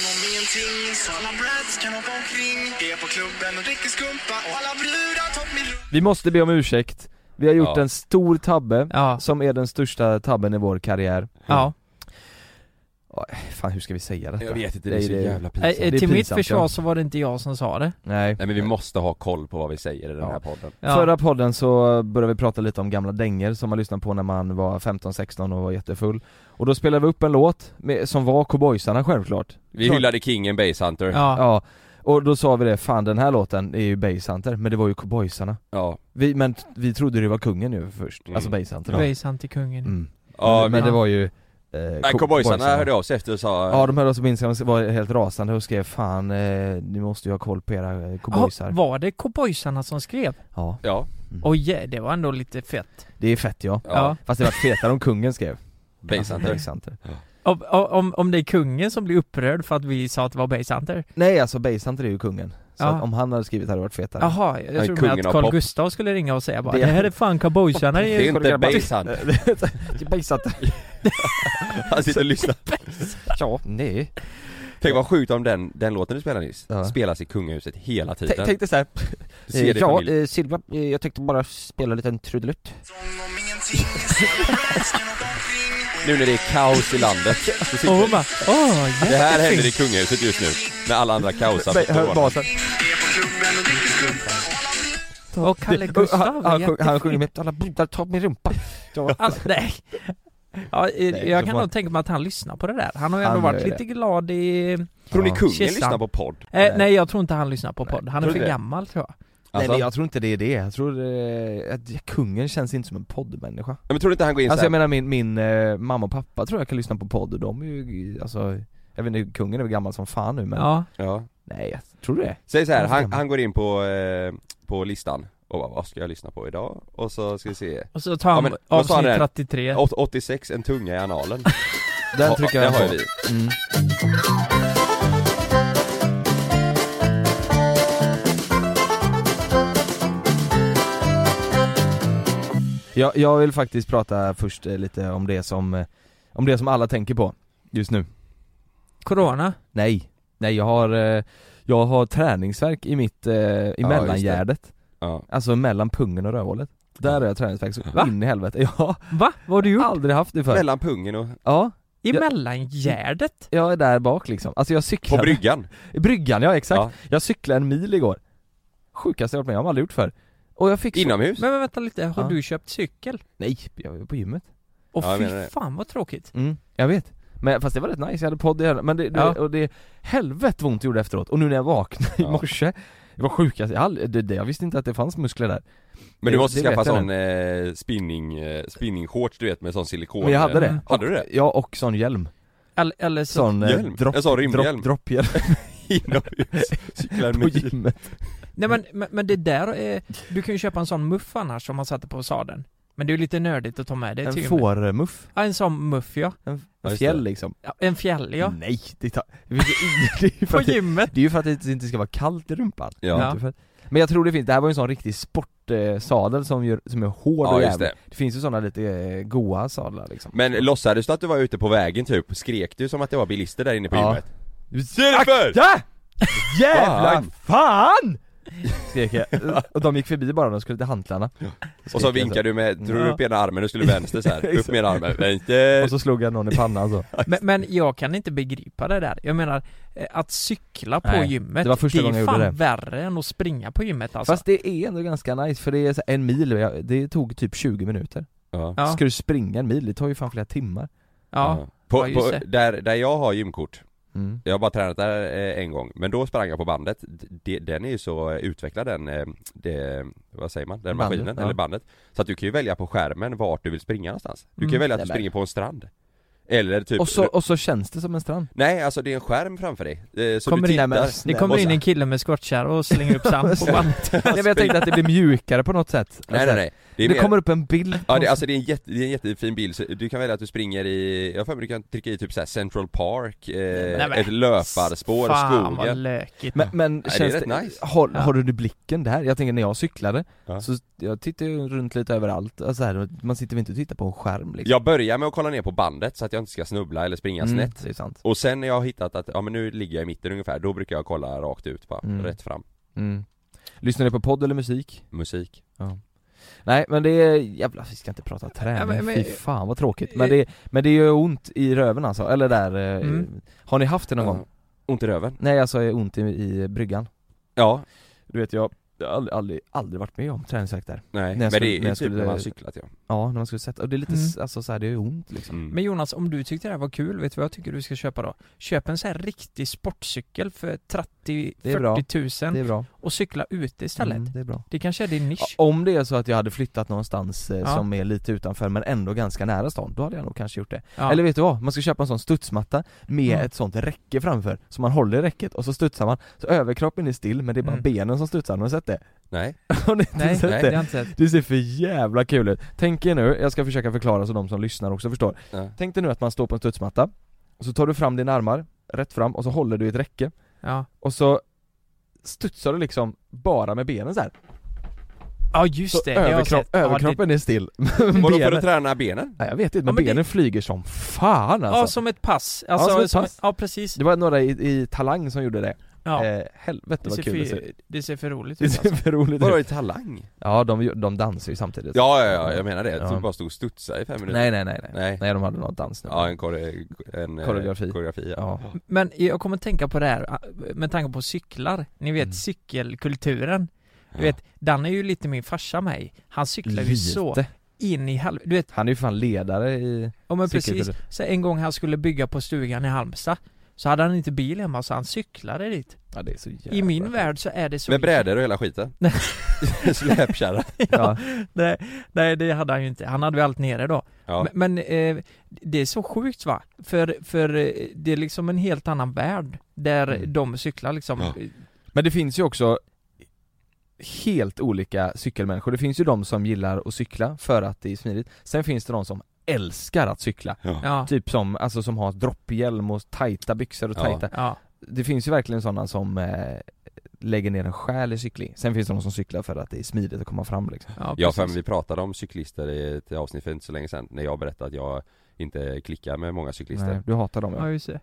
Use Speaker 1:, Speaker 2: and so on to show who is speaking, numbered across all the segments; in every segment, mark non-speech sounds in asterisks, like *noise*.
Speaker 1: allting. Så alla brats kan hoppa omkring. Är på klubben och dricker skumpa och alla brudar topp min rumpa.
Speaker 2: Vi måste be om ursäkt, vi har gjort
Speaker 3: Ja.
Speaker 2: en stor tabbe,
Speaker 4: Ja,
Speaker 2: som är den största tabben i vår karriär
Speaker 4: ja.
Speaker 2: Fan hur ska vi säga detta?
Speaker 3: Jag vet inte, det
Speaker 2: Nej,
Speaker 3: är så
Speaker 2: det-
Speaker 3: jävla
Speaker 4: Eh,
Speaker 3: pinsamt.
Speaker 4: eh,
Speaker 2: Det är
Speaker 4: till mitt
Speaker 2: pinsamt,
Speaker 4: försvar
Speaker 2: ja.
Speaker 4: så var det inte jag som sa det.
Speaker 2: Nej
Speaker 3: Nej men vi måste ha koll på vad vi säger i den här podden.
Speaker 4: Ja.
Speaker 2: Förra podden så började vi prata lite om gamla dänger som man lyssnade på när man var 15-16 och var jättefull Och då spelade vi upp en låt med, som var cowboysarna självklart
Speaker 3: Vi
Speaker 2: Klart.
Speaker 3: hyllade kingen Basehunter. Ja.
Speaker 4: ja.
Speaker 2: Ja, och då sa vi det, fan den här låten är ju Basehunter, men det var ju cowboysarna
Speaker 3: Ja.
Speaker 2: vi, Men t- vi trodde det var kungen ju först,
Speaker 3: Mm.
Speaker 2: alltså Basehunter
Speaker 4: ja.
Speaker 2: då.
Speaker 4: han till kungen.
Speaker 2: mm.
Speaker 3: ja.
Speaker 2: men, men det
Speaker 4: ja.
Speaker 2: var ju eh,
Speaker 3: Nej,
Speaker 2: co-
Speaker 3: cowboysarna hörde av sig efter och sa...
Speaker 2: Ja de hörde oss på Instagram och var helt rasande och skrev 'Fan, eh, ni måste ju ha koll på era eh,
Speaker 4: Jaha,
Speaker 2: cowboysar'
Speaker 4: var det cowboysarna som skrev?
Speaker 2: Ja,
Speaker 3: ja.
Speaker 4: Oj, det var ändå lite fett.
Speaker 2: det är fett ja
Speaker 3: ja.
Speaker 4: Ja.
Speaker 2: Fast det var fetare om kungen skrev
Speaker 3: *laughs* Basehunter.
Speaker 2: Alltså, Basehunter.
Speaker 4: Om, om, om det är kungen som blir upprörd för att vi sa att det var Basehunter?
Speaker 2: Nej alltså Basehunter är ju kungen Så
Speaker 4: Ja.
Speaker 2: att om han hade skrivit hade det varit fetare
Speaker 4: Jaha, jag
Speaker 3: Nej,
Speaker 4: trodde
Speaker 3: kungen
Speaker 4: med
Speaker 3: av
Speaker 4: att Carl
Speaker 3: pop.
Speaker 4: Gustaf skulle ringa och säga bara
Speaker 2: Det-
Speaker 4: Det, här är fan cowboysarna
Speaker 2: *laughs*
Speaker 3: Det är
Speaker 4: i...
Speaker 3: inte Basehunter.
Speaker 2: Det är Basehunter,
Speaker 3: *laughs* Han sitter och lyssnar.
Speaker 2: ja, nej
Speaker 3: Tänk vad sjukt om den, den låten du spelade nyss,
Speaker 2: Ja.
Speaker 3: spelas i kungahuset hela
Speaker 2: Tänk-
Speaker 3: tiden.
Speaker 2: Tänk dig
Speaker 3: *laughs*
Speaker 2: såhär,
Speaker 3: Ser det i familjen.
Speaker 2: eh, Silva, jag tänkte bara spela en liten trudelutt
Speaker 1: Sång om ingenting. Så alla brats kan hoppa omkring.
Speaker 3: Nu när det är kaos
Speaker 2: *laughs*
Speaker 3: i landet. så sitter-
Speaker 4: Och
Speaker 2: Oh
Speaker 4: hon bara, åh,
Speaker 3: Det här
Speaker 4: jättefint."
Speaker 3: händer i kungahuset just nu, när alla andra kaosar på
Speaker 2: Hör
Speaker 3: corona.
Speaker 2: basen,
Speaker 1: Är på klubben och dricker skumpa och alla
Speaker 4: Och Kalle Gustav
Speaker 2: *laughs* han, han, sjung- han
Speaker 4: *laughs* jättefint.
Speaker 2: sjunger med alla brudar tar min rumpa
Speaker 4: Han, Alltså, nej. Ja, eh,
Speaker 2: Nej,
Speaker 4: jag
Speaker 2: så
Speaker 4: kan
Speaker 2: var-
Speaker 4: nog tänka mig att han lyssnar på det där. Han har ju ändå
Speaker 2: Han
Speaker 4: varit
Speaker 2: gör ju
Speaker 4: lite glad i... Eh,
Speaker 3: Tror ni
Speaker 2: Ja.
Speaker 3: kungen
Speaker 4: Kissan.
Speaker 3: lyssnar på podd?
Speaker 2: Nej.
Speaker 4: Eh, nej, jag tror inte han lyssnar på
Speaker 2: Nej,
Speaker 4: podd. Han
Speaker 3: tror
Speaker 4: är
Speaker 3: du
Speaker 4: för
Speaker 3: det?
Speaker 4: gammal tror jag.
Speaker 2: Nej
Speaker 3: Alltså,
Speaker 2: men
Speaker 3: jag...
Speaker 2: jag tror inte det är det, jag tror eh, att kungen känns inte som en poddmänniska
Speaker 3: men tror du inte han går in
Speaker 2: Alltså
Speaker 3: såhär?
Speaker 2: jag menar min, min eh, mamma och pappa tror jag kan lyssna på podd och de är ju, alltså jag vet inte, kungen är väl gammal som fan nu men
Speaker 4: Ja.
Speaker 3: Ja.
Speaker 2: Nej, jag tror du det?
Speaker 3: Säg så här,
Speaker 2: Varför
Speaker 3: han,
Speaker 2: gammal?
Speaker 3: han går in på, eh, på listan och bara, vad ska jag lyssna på idag? Och så ska vi se,
Speaker 4: Och så tar han
Speaker 3: Ja, men vad sa han
Speaker 4: avsnitt
Speaker 3: där?
Speaker 4: 33.
Speaker 3: Åt- 86, en tunga i analen.
Speaker 2: *laughs* Den
Speaker 3: Ja,
Speaker 2: trycker
Speaker 3: det
Speaker 2: jag
Speaker 3: har
Speaker 2: på
Speaker 3: ju vi.
Speaker 2: mm. jag, jag vill faktiskt prata först eh, lite om det som, eh, om det som alla tänker på just nu
Speaker 4: Corona.
Speaker 2: Nej, nej jag har, eh, jag har träningsverk i mitt, eh, i
Speaker 3: Ja,
Speaker 2: mellangärdet
Speaker 3: Ja.
Speaker 2: Alltså mellan pungen och rövhålet Där har jag träningsverk så
Speaker 4: Va?
Speaker 2: in i helvete, *laughs* ja,
Speaker 4: Va? Vad har du gjort?
Speaker 2: aldrig haft det förr
Speaker 3: Mellan pungen och,
Speaker 2: Ja,
Speaker 4: I
Speaker 2: jag-
Speaker 4: mellangärdet?
Speaker 2: jag är där bak liksom, alltså jag
Speaker 3: på
Speaker 2: cyklade *laughs*
Speaker 3: bryggan.
Speaker 2: I Bryggan, ja exakt.
Speaker 3: Ja.
Speaker 2: Jag cyklade en mil igår. Sjukaste jag varit med om, har aldrig gjort förr. Och jag fick så-
Speaker 3: Inomhus.
Speaker 4: Men, men vänta lite, har
Speaker 2: Ja.
Speaker 4: du köpt cykel?
Speaker 2: Nej, jag var på gymmet.
Speaker 4: Och
Speaker 3: Ja, jag menar
Speaker 4: fy
Speaker 3: det.
Speaker 4: fan vad tråkigt.
Speaker 2: Mm, jag vet. Men fast det var rätt nice, jag hade podd i öronen. Men det, det,
Speaker 4: Ja.
Speaker 2: och det, helvete vad ont det gjorde efteråt. Och nu när jag vaknade
Speaker 3: Ja.
Speaker 2: i morse, det var sjukast, jag, aldrig, det, det, jag visste inte att det fanns muskler där.
Speaker 3: Men du
Speaker 2: det-
Speaker 3: måste
Speaker 2: det
Speaker 3: skaffa
Speaker 2: vet jag
Speaker 3: sån eh, spinning, eh, spinningshorts du vet med sån silikon Eh,
Speaker 2: Men jag hade det.
Speaker 4: Mm.
Speaker 3: Hade du det?
Speaker 2: Ja, och sån hjälm.
Speaker 4: Eller, eller så...
Speaker 2: Sån eh,
Speaker 3: Hjälm?
Speaker 2: dropp,
Speaker 3: En sån rymdhjälm?
Speaker 2: dropp, dropphjälm
Speaker 3: *laughs* Inomhus, cykla en
Speaker 2: på
Speaker 3: mil.
Speaker 2: gymmet.
Speaker 4: Nej men, men, men det där är... Du kan ju köpa en sån muff annars som man satte på sadeln. Men det är ju lite nördigt att ta med dig
Speaker 2: En
Speaker 4: till gymmet.
Speaker 2: fårmuff.
Speaker 4: Ja, en sån muff ja.
Speaker 2: En,
Speaker 3: Ja,
Speaker 2: en
Speaker 3: just det.
Speaker 2: fjäll liksom.
Speaker 4: ja en fjäll ja.
Speaker 2: Nej, det, tar, det, finns ju *laughs* ingen- det är ju för
Speaker 4: På
Speaker 2: att det-
Speaker 4: gymmet.
Speaker 2: Det är ju för att det inte ska vara kallt i rumpan.
Speaker 3: Ja.
Speaker 2: Det är inte för- Men jag tror det finns, det här var ju en sån riktig sportsadel som, gör, som är hård
Speaker 3: Ja
Speaker 2: och
Speaker 3: just
Speaker 2: jävlig.
Speaker 3: det.
Speaker 2: Det. finns ju såna lite eh, goa sadlar liksom.
Speaker 3: Men låtsades du att du var ute på vägen typ? Skrek du som att det var bilister där inne på
Speaker 2: Ja.
Speaker 3: gymmet? Jennifer!
Speaker 2: Akta! Jävla
Speaker 3: Fan! *laughs*
Speaker 2: fan! Skrek jag. Och de gick förbi bara, de skulle till hantlarna.
Speaker 3: Och så
Speaker 2: Skrek jag
Speaker 3: vinkade du med, drog
Speaker 4: Ja.
Speaker 3: upp ena armen, du skulle vänster så här.
Speaker 2: *laughs*
Speaker 3: upp
Speaker 2: Exakt.
Speaker 3: med ena armen, vänster!
Speaker 2: Och så slog jag någon i pannan så.
Speaker 4: Men, men jag kan inte begripa det där. Jag menar, eh, att cykla på
Speaker 2: Nej,
Speaker 4: gymmet,
Speaker 2: det var första
Speaker 4: det är
Speaker 2: gången jag
Speaker 4: fan
Speaker 2: gjorde
Speaker 4: värre än att springa på gymmet alltså.
Speaker 2: Fast det är ändå ganska nice för det är så här en mil, jag- det tog typ 20 minuter.
Speaker 3: Ja.
Speaker 4: ja,
Speaker 2: Ska du springa en mil, det tar ju fan flera timmar.
Speaker 4: ja.
Speaker 3: På,
Speaker 4: Ja, just
Speaker 3: på,
Speaker 4: det.
Speaker 3: där, där jag har gymkort,
Speaker 2: Mm.
Speaker 3: jag har bara tränat där eh, en gång, men då sprang jag på bandet, D- den är ju så eh, utvecklad den, eh, det, vad säger man, den
Speaker 2: Bandet,
Speaker 3: maskinen,
Speaker 2: ja.
Speaker 3: eller bandet Så att du kan ju välja på skärmen vart du vill springa någonstans Du kan ju
Speaker 4: Mm.
Speaker 3: välja att du
Speaker 2: Nämen.
Speaker 3: springer på en strand Eller typ,
Speaker 2: Och, så, och så känns det som en
Speaker 3: *laughs*
Speaker 2: strand.
Speaker 3: nej alltså det är en skärm framför dig, eh, så
Speaker 2: Kommer in
Speaker 3: du tittar
Speaker 2: där med-
Speaker 4: Det
Speaker 2: Nej,
Speaker 4: kommer
Speaker 3: och
Speaker 4: in
Speaker 3: så-
Speaker 4: en kille med skottkärra och slänger
Speaker 2: *laughs*
Speaker 4: upp sand på bandet.
Speaker 2: Nej, men jag tänkte att det blir mjukare på något sätt.
Speaker 3: *laughs* Nej nej nej, det är
Speaker 2: det
Speaker 3: mer-
Speaker 2: kommer upp en bild
Speaker 3: Ja det, alltså det är, en jätte, det är en jättefin bild, så du kan välja att du springer i, jag har för mig du kan trycka i typ såhär Central Park, eh,
Speaker 4: Nej, men-
Speaker 3: ett löparspår,
Speaker 4: Fan vad
Speaker 3: skogen
Speaker 4: lökigt.
Speaker 2: Men, men
Speaker 3: det är
Speaker 2: känns det,
Speaker 3: rätt nice.
Speaker 2: har,
Speaker 4: Ja.
Speaker 2: har du blicken där? Jag tänker när jag cyklade,
Speaker 3: Ja.
Speaker 2: så jag tittar ju runt lite överallt, alltså här, man sitter väl inte och tittar på en skärm liksom.
Speaker 3: Jag börjar med att kolla ner på bandet så att jag inte ska snubbla eller springa
Speaker 2: Mm,
Speaker 3: snett
Speaker 2: det är sant.
Speaker 3: Och sen när jag har hittat att, ja men nu ligger jag i mitten ungefär, då brukar jag kolla rakt ut bara,
Speaker 2: Mm.
Speaker 3: rätt fram
Speaker 2: Mm. Lyssnar du på podd eller musik?
Speaker 3: Musik
Speaker 2: Nej men det är, jävlar vi ska inte prata träning,
Speaker 4: Ja, men- men- eh,
Speaker 2: fy fan vad tråkigt men det, men det gör ont i röven alltså, eller där, eh,
Speaker 4: Mm.
Speaker 2: har ni haft det någon gång?
Speaker 3: Ja. Eh, Ont i röven?
Speaker 2: Nej alltså eh, ont i, i bryggan
Speaker 3: Ja,
Speaker 2: Du vet jag, jag har aldrig, aldrig, aldrig varit med om träningsvärk där
Speaker 3: nej,
Speaker 2: jag
Speaker 3: men
Speaker 2: skulle-
Speaker 3: det är
Speaker 2: när
Speaker 3: ju
Speaker 2: jag
Speaker 3: typ
Speaker 2: skulle-
Speaker 3: när man har cyklat ja
Speaker 2: Ja, när man skulle sätta, och det är lite,
Speaker 4: Mm.
Speaker 2: s- alltså så här, det är ont liksom
Speaker 3: mm.
Speaker 4: Men Jonas, om du tyckte det här var kul, vet du vad jag tycker du ska köpa då? Köp en sån här riktig sportcykel för
Speaker 2: Det är bra.
Speaker 4: 30-40
Speaker 2: Det
Speaker 4: 000
Speaker 2: är bra,
Speaker 4: och cykla ute istället.
Speaker 2: mm, det är bra
Speaker 4: Det kanske är din nisch.
Speaker 2: Ja, Om det är så att jag hade flyttat någonstans eh,
Speaker 4: Ja.
Speaker 2: som är lite utanför men ändå ganska nära stan, då hade jag nog kanske gjort det
Speaker 4: Ja.
Speaker 2: Eller vet du vad? Man ska köpa en sån studsmatta med
Speaker 4: Mm.
Speaker 2: ett sånt räcke framför, så man håller i räcket och så studsar man, så överkroppen är still men det är bara
Speaker 4: Mm.
Speaker 2: benen som studsar, har ni sett det? *laughs*
Speaker 3: Nej,
Speaker 2: Har ni *laughs* inte
Speaker 4: Nej,
Speaker 2: sett
Speaker 4: nej, det har
Speaker 2: det?
Speaker 4: jag inte sett.
Speaker 2: Det ser för jävla kul ut! Tänk er nu, jag ska försöka förklara så de som lyssnar också förstår
Speaker 3: Ja.
Speaker 2: Tänk dig nu att man står på en studsmatta, och så tar du fram dina armar, rätt fram, och så håller du i ett räcke
Speaker 4: Ja,
Speaker 2: och så studsar du liksom bara med benen så här.
Speaker 4: ja just
Speaker 2: Så
Speaker 4: det, det har jag
Speaker 2: överkro-
Speaker 4: sett. ja,
Speaker 2: överkroppen är still, *laughs* men
Speaker 3: vadå för att
Speaker 2: benen,
Speaker 3: träna benen?
Speaker 2: nej, jag vet inte, men
Speaker 4: Ja, men det-
Speaker 2: benen flyger som fan
Speaker 4: det,
Speaker 2: alltså!
Speaker 4: ja, som ett pass. Alltså,
Speaker 2: som
Speaker 4: som
Speaker 2: ett pass.
Speaker 4: ja precis.
Speaker 2: Det var några i, i Talang som gjorde det
Speaker 4: Ja.
Speaker 2: Eh, helvete
Speaker 4: det,
Speaker 2: vad
Speaker 4: ser
Speaker 2: kul det ser ut.
Speaker 4: för, det ser för roligt
Speaker 2: Det
Speaker 4: ut
Speaker 2: ser
Speaker 4: alltså.
Speaker 2: för roligt
Speaker 3: Vadå
Speaker 2: ut.
Speaker 3: i talang?
Speaker 2: Ja, de, de dansar ju samtidigt.
Speaker 3: Ja, ja, ja, jag menar det,
Speaker 2: Ja.
Speaker 3: du bara stod och studsade i fem minuter
Speaker 2: Nej, nej, nej, nej.
Speaker 3: Nej.
Speaker 2: Nej, de hade någon dans nu.
Speaker 3: Ja, en, kore, en eh,
Speaker 2: Koreografi.
Speaker 3: koreografi ja.
Speaker 2: Ja.
Speaker 4: Men jag kommer tänka på det här eh, med tanke på cyklar. Ni vet
Speaker 2: Mm.
Speaker 4: cykelkulturen. Du vet, Dan är ju lite min farsa med i. Han cyklar ju så
Speaker 2: Lite.
Speaker 4: in i halv... Du vet,
Speaker 2: Han är ju fan ledare i...
Speaker 4: ja men precis.
Speaker 2: cykelkultur.
Speaker 4: Så en gång han skulle bygga på stugan i Halmstad så hade han inte bil hemma så han cyklade dit.
Speaker 2: Ja, det är så jävla
Speaker 4: I min
Speaker 2: skönt.
Speaker 4: värld så är det så...
Speaker 3: Med brädor och hela skiten?
Speaker 4: Nej.
Speaker 3: *laughs* Släpkärra
Speaker 4: ja, *laughs* nej, nej, det hade han ju inte. Han hade väl allt nere då.
Speaker 3: Ja,
Speaker 4: Men, men eh, det är så sjukt va? För, för eh, det är liksom en helt annan värld där
Speaker 2: Mm.
Speaker 4: de cyklar liksom.
Speaker 3: Ja.
Speaker 2: Men det finns ju också helt olika cykelmänniskor. Det finns ju de som gillar att cykla för att det är smidigt. Sen finns det de som älskar att cykla.
Speaker 3: ja.
Speaker 4: Ja,
Speaker 2: Typ som, alltså som har dropphjälm och tajta byxor och
Speaker 3: Ja.
Speaker 2: tajta
Speaker 4: ja,
Speaker 2: Det finns ju verkligen sådana som eh, lägger ner en själ i cykling. Sen finns det de som cyklar för att det är smidigt att komma fram liksom.
Speaker 4: ja,
Speaker 3: Ja för
Speaker 4: precis.
Speaker 3: vi pratade om cyklister i ett avsnitt för inte så länge sedan när jag berättade att jag inte klickar med många
Speaker 2: Nej,
Speaker 3: cyklister
Speaker 2: du hatar dem
Speaker 4: Ja,
Speaker 2: ja.
Speaker 4: just det.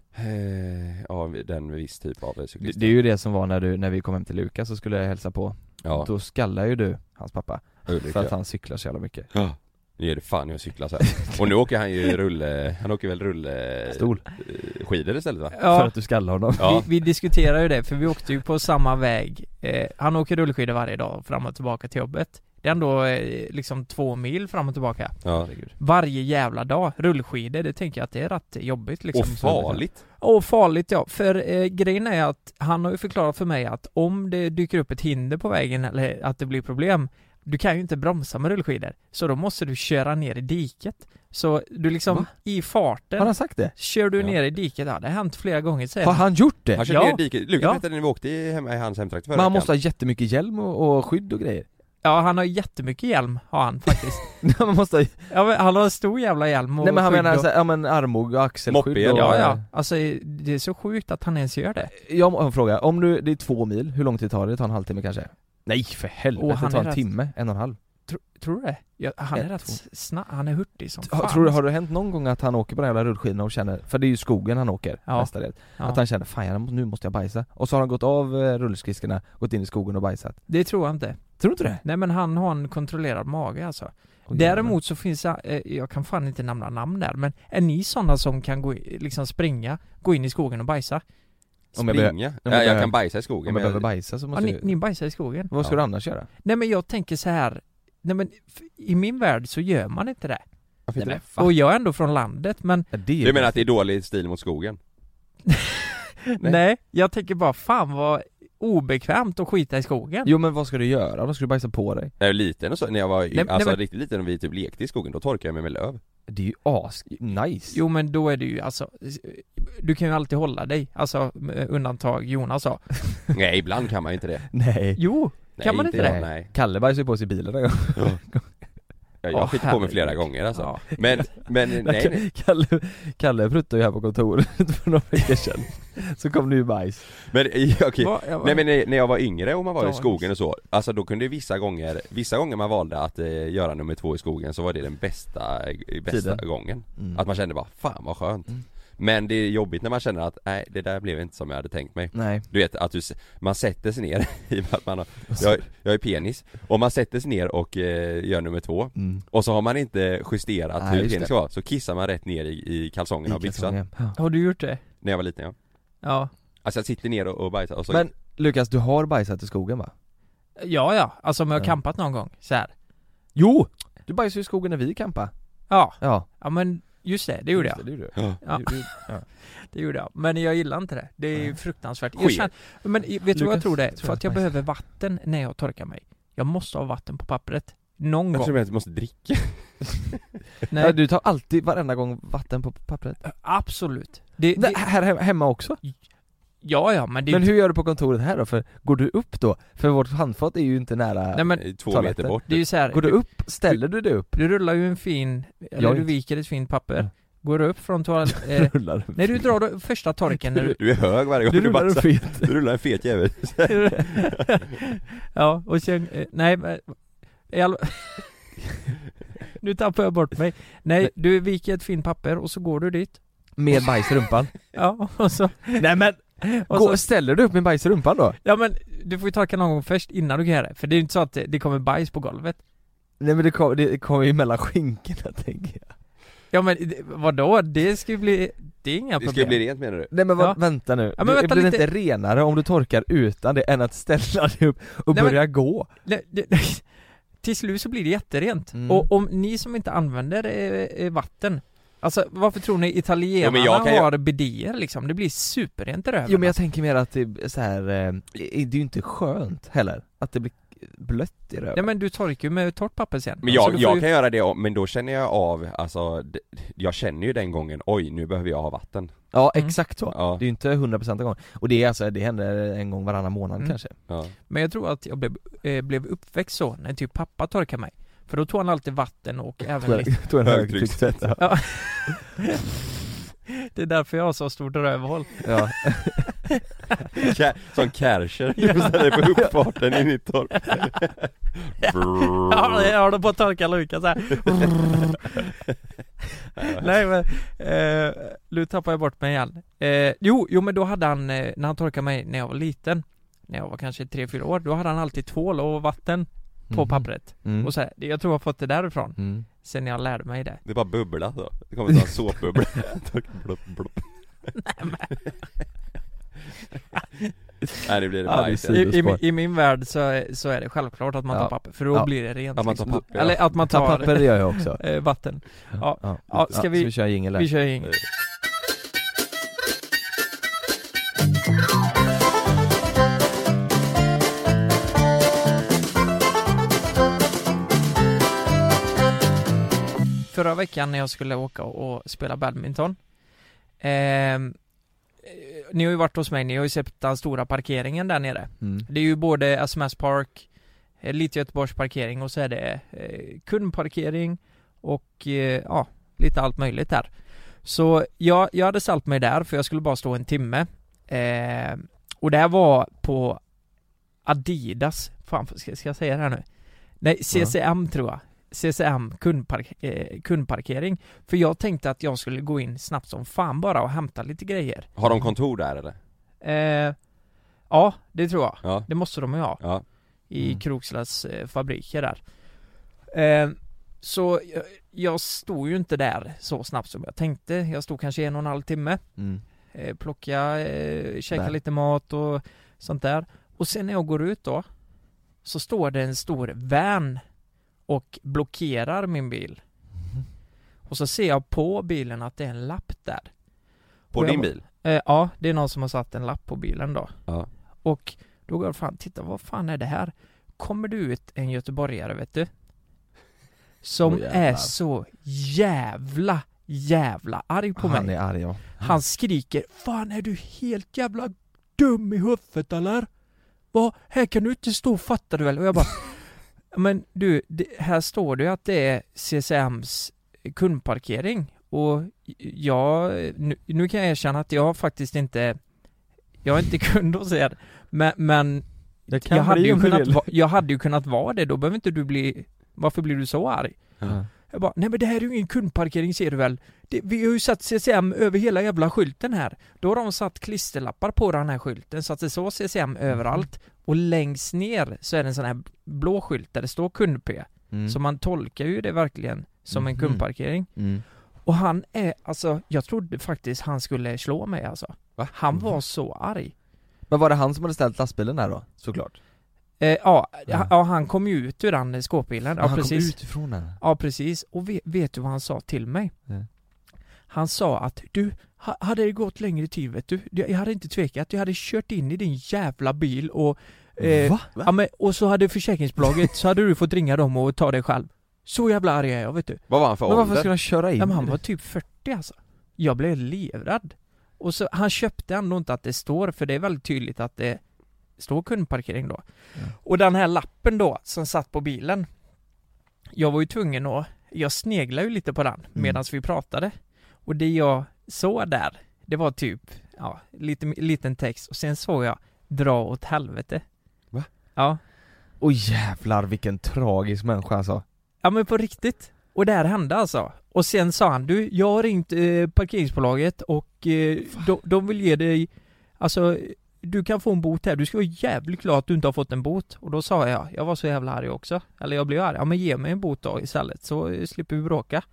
Speaker 3: Eh, Av den viss typ av
Speaker 2: Det,
Speaker 3: cyklister
Speaker 2: det är ju det som var när du, när vi kom hem till Lukas så skulle jag hälsa på.
Speaker 3: Ja,
Speaker 2: Då skallar ju du hans pappa
Speaker 3: Ulrik
Speaker 2: för att
Speaker 3: ja.
Speaker 2: han cyklar så jävla mycket.
Speaker 3: Ja. Nu är det fan jag cyklar så här. Och nu åker han ju rulle, han åker väl rulle
Speaker 2: Stol.
Speaker 3: eh, Skidor istället va?
Speaker 2: För
Speaker 4: Ja,
Speaker 2: att du skallar honom.
Speaker 3: Ja,
Speaker 4: vi, vi diskuterar ju det för vi åkte ju på samma väg. Eh, han åker rullskidor varje dag fram och tillbaka till jobbet. Det är ändå eh, liksom två mil fram och tillbaka.
Speaker 3: ja.
Speaker 2: Herregud.
Speaker 4: Varje jävla dag. Rullskidor, det tänker jag att det är rätt jobbigt liksom.
Speaker 3: Och farligt!
Speaker 4: Och farligt ja, för eh, grejen är att han har ju förklarat för mig att om det dyker upp ett hinder på vägen eller att det blir problem Du kan ju inte bromsa med rullskidor, så då måste du köra ner i diket Så du liksom,
Speaker 2: Va?
Speaker 4: i
Speaker 2: Har
Speaker 4: farten,
Speaker 2: han sagt det?
Speaker 4: kör du
Speaker 3: Ja.
Speaker 4: ner i diket, ja, det har hänt flera gånger säger
Speaker 2: Har
Speaker 4: han
Speaker 2: han gjort det?
Speaker 3: Han körde
Speaker 4: Ja.
Speaker 3: ner i diket, Lukas
Speaker 4: Ja.
Speaker 3: berättade när vi åkte i, hemma i hans hemtrakt förra
Speaker 2: Men han
Speaker 3: veckan.
Speaker 2: måste ha jättemycket hjälm och, och skydd och grejer. *laughs*
Speaker 4: Ja han har jättemycket hjälm, har han faktiskt
Speaker 2: Nej, man måste ha,
Speaker 4: *laughs* ja, men Han har en stor jävla hjälm och
Speaker 2: nej men han
Speaker 4: skydd
Speaker 2: menar
Speaker 4: och...
Speaker 2: så här, ja men armbåge och axelskydd
Speaker 3: Moppe,
Speaker 2: och,
Speaker 4: Ja ja, alltså det är så sjukt att han ens gör det
Speaker 2: Jag har en fråga, om du, det är två mil, hur lång tid tar det? Det tar en halvtimme kanske? Nej för helvete,
Speaker 4: Åh, han
Speaker 2: det tar
Speaker 4: är
Speaker 2: en
Speaker 4: rätt-
Speaker 2: timme, en och en halv
Speaker 4: Tro, Tror du det? Ja, han är
Speaker 2: Ett,
Speaker 4: rätt
Speaker 2: två.
Speaker 4: snabb, han är hurtig som
Speaker 2: Har-
Speaker 4: fan
Speaker 2: Tror du, har det hänt någon gång att han åker på den jävla rullskidorna och känner, för det är ju skogen han åker
Speaker 4: Ja.
Speaker 2: mestadels,
Speaker 4: Ja.
Speaker 2: att han känner 'Fan jag, nu måste jag bajsa' och så har han gått av eh, rullskidskorna, gått in i skogen och bajsat
Speaker 4: Det tror jag inte
Speaker 2: Tror du inte det?
Speaker 4: Nej men han har en kontrollerad mage alltså.
Speaker 2: Åh,
Speaker 4: Däremot så finns det, eh, jag kan fan inte nämna namn där, men är ni sådana som kan gå, i- liksom springa, gå in i skogen och bajsa?
Speaker 2: Om jag
Speaker 3: Springa?
Speaker 2: behöver-
Speaker 3: jag,
Speaker 2: jag
Speaker 3: jag,
Speaker 2: behöver-
Speaker 3: kan bajsa i
Speaker 2: jävlar.
Speaker 3: skogen
Speaker 2: Om jag
Speaker 3: men
Speaker 2: behöver
Speaker 3: jag,
Speaker 2: bajsa så
Speaker 4: Ja,
Speaker 2: måste
Speaker 4: ni,
Speaker 2: jag
Speaker 4: ni bajsar i skogen?
Speaker 2: Vad ska
Speaker 3: Ja.
Speaker 2: du annars göra?
Speaker 4: Nej men jag tänker så här. nej men f- i min värld så gör man inte det.
Speaker 3: Varför inte
Speaker 2: Nej,
Speaker 3: det?
Speaker 2: men fan.
Speaker 4: Och jag är ändå från landet men
Speaker 2: Ja, det är ju-
Speaker 3: Du menar att det är dålig stil mot skogen?
Speaker 4: nej, jag tänker bara fan vad obekvämt att skita i skogen.
Speaker 2: Jo men vad ska du göra? Vad ska du bajsa på dig?
Speaker 3: När jag var liten och så, när jag var
Speaker 4: nej,
Speaker 3: alltså
Speaker 4: men-
Speaker 3: riktigt liten och vi typ lekte i skogen, då torkade jag mig med löv
Speaker 2: Det är ju as nice
Speaker 4: Jo men då är det ju alltså, du kan ju alltid hålla dig, alltså med undantag Jonas sa.
Speaker 3: Nej ibland kan man ju inte det
Speaker 2: Nej
Speaker 4: *laughs* Jo!
Speaker 3: Nej,
Speaker 4: Kan man inte
Speaker 3: jag,
Speaker 2: det?
Speaker 3: Nej,
Speaker 2: Kalle bajsade på sig i bilen en gång.
Speaker 3: jag,
Speaker 4: Åh,
Speaker 3: jag skiter på mig flera
Speaker 4: herregud.
Speaker 3: gånger alltså
Speaker 4: Ja. *laughs*
Speaker 3: Men, men nej, nej
Speaker 2: *laughs* Kalle, Kalle pruttade ju här på kontoret för några veckor sedan
Speaker 3: *laughs*
Speaker 2: Så kom det ju bajs.
Speaker 3: Men *laughs* okej,
Speaker 4: Va- jag bara-
Speaker 3: Nej men när- när jag var yngre och man var i
Speaker 4: Dagens.
Speaker 3: skogen och så, alltså då kunde ju vissa gånger, vissa gånger man valde att eh, göra nummer två i skogen så var det den bästa, eh, bästa
Speaker 2: Tiden.
Speaker 3: gången.
Speaker 2: Mm.
Speaker 3: Att man kände bara, fan vad skönt.
Speaker 2: Mm.
Speaker 3: Men det är jobbigt när man känner att, nej det där blev inte som jag hade tänkt mig.
Speaker 2: Nej.
Speaker 3: Du vet att du, s- man sätter sig ner, *laughs* i och med att man har, jag, jag är penis, och man sätter sig ner och eh, gör nummer två
Speaker 2: Mm.
Speaker 3: och så har man inte justerat
Speaker 2: Nej,
Speaker 3: hur
Speaker 2: just
Speaker 3: penis
Speaker 2: det.
Speaker 3: ska vara, så kissar man rätt ner i, i kalsongerna och
Speaker 2: I
Speaker 3: byxan
Speaker 2: kalsongen. Ja.
Speaker 4: Har du gjort det?
Speaker 3: när jag var liten ja.
Speaker 4: Ja.
Speaker 3: Alltså jag sitter ner och, och bajsar och så
Speaker 2: Men Lukas, du har bajsat i skogen va?
Speaker 4: Ja, ja. Alltså om jag har
Speaker 2: Ja.
Speaker 4: campat någon gång så här.
Speaker 2: Jo! Du bajsade i skogen när vi kampa.
Speaker 4: Ja,
Speaker 2: Ja.
Speaker 4: ja men just det, det gjorde jag.
Speaker 2: Just Det, gjorde du.
Speaker 3: Ja.
Speaker 4: Ja.
Speaker 2: Du- du- *laughs*
Speaker 4: Det gjorde jag. Men jag gillar inte det. Det är ju
Speaker 2: Nej.
Speaker 4: fruktansvärt. Jag
Speaker 3: Sker.
Speaker 4: känner, men i- vet du vad jag
Speaker 2: Lukas,
Speaker 4: tror det är?
Speaker 2: tror
Speaker 4: För
Speaker 2: jag
Speaker 4: att jag
Speaker 2: bajsar.
Speaker 4: behöver vatten när jag torkar mig. Jag måste ha vatten på pappret. Någon
Speaker 3: Jag
Speaker 4: gång.
Speaker 3: tror att du måste dricka
Speaker 2: Nej.
Speaker 4: Nej,
Speaker 2: du tar alltid, varenda gång, vatten på pappret.
Speaker 4: absolut. Det,
Speaker 2: Nej,
Speaker 4: det,
Speaker 2: här he- hemma också?
Speaker 4: ja, ja, men det...
Speaker 2: Men hur gör du på kontoret här då? För går du upp då? För vårt handfat är ju inte nära...
Speaker 4: nej, men
Speaker 3: två
Speaker 2: toaletten.
Speaker 3: meter bort
Speaker 4: det är ju så här.
Speaker 2: går du
Speaker 4: du,
Speaker 2: upp? Ställer du dig upp?
Speaker 4: du rullar ju en fin... Eller
Speaker 2: Jag
Speaker 4: du
Speaker 2: inte.
Speaker 4: viker ett fint papper.
Speaker 2: Mm.
Speaker 4: Går upp
Speaker 2: *laughs*
Speaker 4: från toaletten... Eh,
Speaker 2: Rullar du?
Speaker 4: när du drar då första torken när
Speaker 2: *laughs*
Speaker 4: du... *laughs*
Speaker 3: Du är hög varje gång
Speaker 2: Du
Speaker 3: du,
Speaker 2: rullar
Speaker 3: bajsar.
Speaker 2: upp fet.
Speaker 3: Du rullar en fet jävel
Speaker 4: ja, och sen, eh, nej men, i all... *laughs* Nu tappar jag bort mig. Nej,
Speaker 2: Nej.
Speaker 4: du viker ett fint papper och så går du dit.
Speaker 2: Med bajs i rumpan?
Speaker 4: Ja, *laughs* och så...
Speaker 2: *laughs* Nej men!
Speaker 4: Och
Speaker 2: Gå,
Speaker 4: så
Speaker 2: ställer du upp med bajs i rumpan då?
Speaker 4: ja men, du får ju torka någon gång först innan du kan göra det. För det är ju inte så att det, det kommer bajs på golvet.
Speaker 2: Nej men det kommer det kom ju mellan skinkorna tänker jag
Speaker 4: Ja men, det- vadå? Det ska ju bli... Det är inga
Speaker 3: Det ska ju
Speaker 4: problem.
Speaker 3: bli rent menar du?
Speaker 2: Nej men vad,
Speaker 4: Ja.
Speaker 2: vänta nu,
Speaker 4: Ja, men
Speaker 2: Det-
Speaker 4: vänta
Speaker 2: blir
Speaker 4: lite.
Speaker 2: det inte renare om du torkar utan det än att ställa dig upp och
Speaker 4: Nej, men-
Speaker 2: börja gå?
Speaker 4: Nej, det- *laughs* Till slut så blir det jätterent.
Speaker 2: Mm.
Speaker 4: Och om ni som inte använder eh, eh, vatten Alltså varför tror ni italienarna
Speaker 3: Jo, men jag kan ju-
Speaker 4: har bidéer liksom? Det blir superrent i röven
Speaker 2: Jo men jag tänker mer att det är så här, eh, det är ju inte skönt heller, att det blir blött i röven
Speaker 4: Nej men du torkar ju med torrt papper sen
Speaker 3: Men
Speaker 4: Så
Speaker 3: jag,
Speaker 4: du får
Speaker 3: jag
Speaker 4: ju...
Speaker 3: kan göra det om- men då känner jag av, alltså d- Jag känner ju den gången, oj nu behöver jag ha vatten
Speaker 2: Ja
Speaker 4: Mm.
Speaker 2: exakt så,
Speaker 3: Ja.
Speaker 2: det är ju inte 100% en gång Och det är alltså, det händer en gång varannan månad
Speaker 4: Mm.
Speaker 2: kanske
Speaker 3: ja.
Speaker 4: men jag tror att jag blev, eh, blev uppväxt så när typ pappa torkade mig För då tog han alltid vatten och även lite
Speaker 2: Tog en
Speaker 3: Högtryckstvätt.
Speaker 2: högtryckstvätt ja.
Speaker 4: *laughs* ja. Det är därför jag har så
Speaker 3: *laughs*
Speaker 4: stort rövhål
Speaker 2: ja,
Speaker 3: Kä- Som Kärcher, *laughs* du får ställa dig på uppfarten i ditt torp
Speaker 4: Jag håller- jag håller på att torka
Speaker 2: *laughs*
Speaker 4: Lukas här Nej men, eh, nu tappar jag bort mig igen eh, jo, jo men då hade han, eh, när han torkade mig när jag var liten När jag var kanske 3-4 år, då hade han alltid tvål och vatten på
Speaker 2: Mm.
Speaker 4: pappret
Speaker 2: mm.
Speaker 4: Och så här, jag tror jag har fått det därifrån
Speaker 2: Mm.
Speaker 4: Sen jag lärde mig det
Speaker 3: Det bara bubblar så, det kommer en sån
Speaker 4: *laughs*
Speaker 3: såpbubbla Blopp, blopp. *laughs* Nej det blir
Speaker 2: Ja, det är
Speaker 3: bajs
Speaker 2: synd.
Speaker 4: I, i,
Speaker 2: Sidospår.
Speaker 4: min- I min värld så är, så är det självklart att man
Speaker 2: Ja.
Speaker 4: tar papper, för då
Speaker 2: Ja.
Speaker 4: blir det rent
Speaker 3: Att man tar
Speaker 4: liksom.
Speaker 3: papper, ja.
Speaker 4: Eller att man
Speaker 2: Ta
Speaker 4: tar
Speaker 2: papper det gör jag också
Speaker 4: eh, vatten *laughs* Ja. Ja, ska vi-
Speaker 2: så vi kör jingel
Speaker 4: Vi
Speaker 2: här?
Speaker 4: kör ingen Förra veckan när jag skulle åka och spela badminton ehm, eh, Ni har ju varit hos mig, ni har ju sett den stora parkeringen där nere
Speaker 2: Mm.
Speaker 4: Det är ju både SMS Park, eh, lite Göteborgs parkering och så är det eh, kundparkering och eh, ja, lite allt möjligt där. Så jag, jag hade ställt mig där för jag skulle bara stå en timme. Eh, och det här var på Adidas, fan ska, ska jag säga det här nu? Nej, CCM tror jag. CCM kundpark, eh, kundparkering. För jag tänkte att jag skulle gå in snabbt som fan bara och hämta lite grejer.
Speaker 3: Har de kontor där eller?
Speaker 4: Eh, ja, det tror jag.
Speaker 3: Ja,
Speaker 4: Det måste de ju ha
Speaker 3: ja,
Speaker 4: i
Speaker 2: Mm.
Speaker 4: Krokslas eh, fabriker där. Eh, så jag, jag stod ju inte där så snabbt som jag tänkte. Jag stod kanske en och en halv timme,
Speaker 2: Mm.
Speaker 4: eh, plocka, eh, käka
Speaker 2: Där.
Speaker 4: lite mat och sånt där. Och sen när jag går ut då, så står det en stor van och blockerar min bil.
Speaker 2: Mhm.
Speaker 4: Och så ser jag på bilen att det är en lapp där.
Speaker 3: på
Speaker 4: Och jag
Speaker 3: din
Speaker 4: bara-
Speaker 3: bil?
Speaker 4: Eh, ja, det är någon som har satt en lapp på bilen då.
Speaker 3: Ja.
Speaker 4: Och då går jag fram, titta vad fan är det här? Kommer du ut en göteborgare vet du? Som
Speaker 2: Åh, jävlar.
Speaker 4: är så jävla, jävla arg på
Speaker 2: Han
Speaker 4: mig.
Speaker 2: är arg ja.
Speaker 4: Han skriker 'Fan är du helt jävla dum i huvudet eller? Va? Här kan du inte stå fattar du väl?' Och jag bara *laughs* Men du, det, här står det ju att det är CSMs kundparkering och jag, nu, nu kan jag erkänna att jag har faktiskt inte Jag är inte *laughs* kund hos er Men, men
Speaker 2: Det kan
Speaker 4: jag, hade
Speaker 2: bli
Speaker 4: ju
Speaker 2: om du
Speaker 4: kunnat
Speaker 2: vill.
Speaker 4: va, jag hade ju kunnat vara det, då behöver inte du bli Varför blir du så arg?
Speaker 2: Ja.
Speaker 4: Jag bara, nej men det här är ju ingen kundparkering ser du väl? Det, vi har ju satt CCM över hela jävla skylten här. Då har de satt klisterlappar på den här skylten så att det står CCM
Speaker 2: Mhm.
Speaker 4: överallt. Och längst ner så är det en sån här blå skylt där det står kund-P.
Speaker 2: Mm.
Speaker 4: Så man tolkar ju det verkligen som en
Speaker 2: Mhm.
Speaker 4: kundparkering.
Speaker 2: Mm.
Speaker 4: Och han är, alltså jag trodde faktiskt han skulle slå mig alltså.
Speaker 3: Va?
Speaker 4: Han
Speaker 2: Mhm.
Speaker 4: var så arg.
Speaker 2: Men var det han som hade ställt lastbilen där då? Såklart
Speaker 4: Eh, ja,
Speaker 2: Ja.
Speaker 4: ja. ja, han kom ju ut ur den skåpbilen. Ja,
Speaker 2: han
Speaker 4: precis.
Speaker 2: kom utifrån den?
Speaker 4: Ja precis, och vet, vet du vad han sa till mig?
Speaker 2: Nej.
Speaker 4: Han sa att du, ha- hade det gått längre tid vet du, jag hade inte tvekat, jag hade kört in i din jävla bil och... eh,
Speaker 2: Va?
Speaker 4: Ja, men, och så hade försäkringsbolaget, så hade du fått ringa dem och ta dig själv. Så jävla arg är jag vet du.
Speaker 3: Vad var han för
Speaker 2: Men varför
Speaker 3: ålder?
Speaker 2: skulle han köra in?
Speaker 4: Ja, men han var typ 40 alltså. Jag blev livrädd. Och så, han köpte ändå inte att det står, för det är väldigt tydligt att det står kundparkering då.
Speaker 2: Ja.
Speaker 4: Och den här lappen då, som satt på bilen. Jag var ju tvungen att, jag sneglade ju lite på den medan vi pratade. Och det jag såg där, det var typ, ja, lite, liten text och sen såg jag Dra åt helvete.
Speaker 3: Va?
Speaker 4: Ja.
Speaker 2: Åh jävlar vilken tragisk människa alltså
Speaker 4: Ja men på riktigt. Och det här hände alltså. Och sen sa han du, jag har ringt eh, parkeringsbolaget och eh, de, de vill ge dig, alltså du kan få en bot här, du ska vara jävligt glad att du inte har fått en bot. Och då sa jag, jag var så jävla arg också. Eller jag blev arg, ja men ge mig en bot då istället så eh, slipper vi bråka.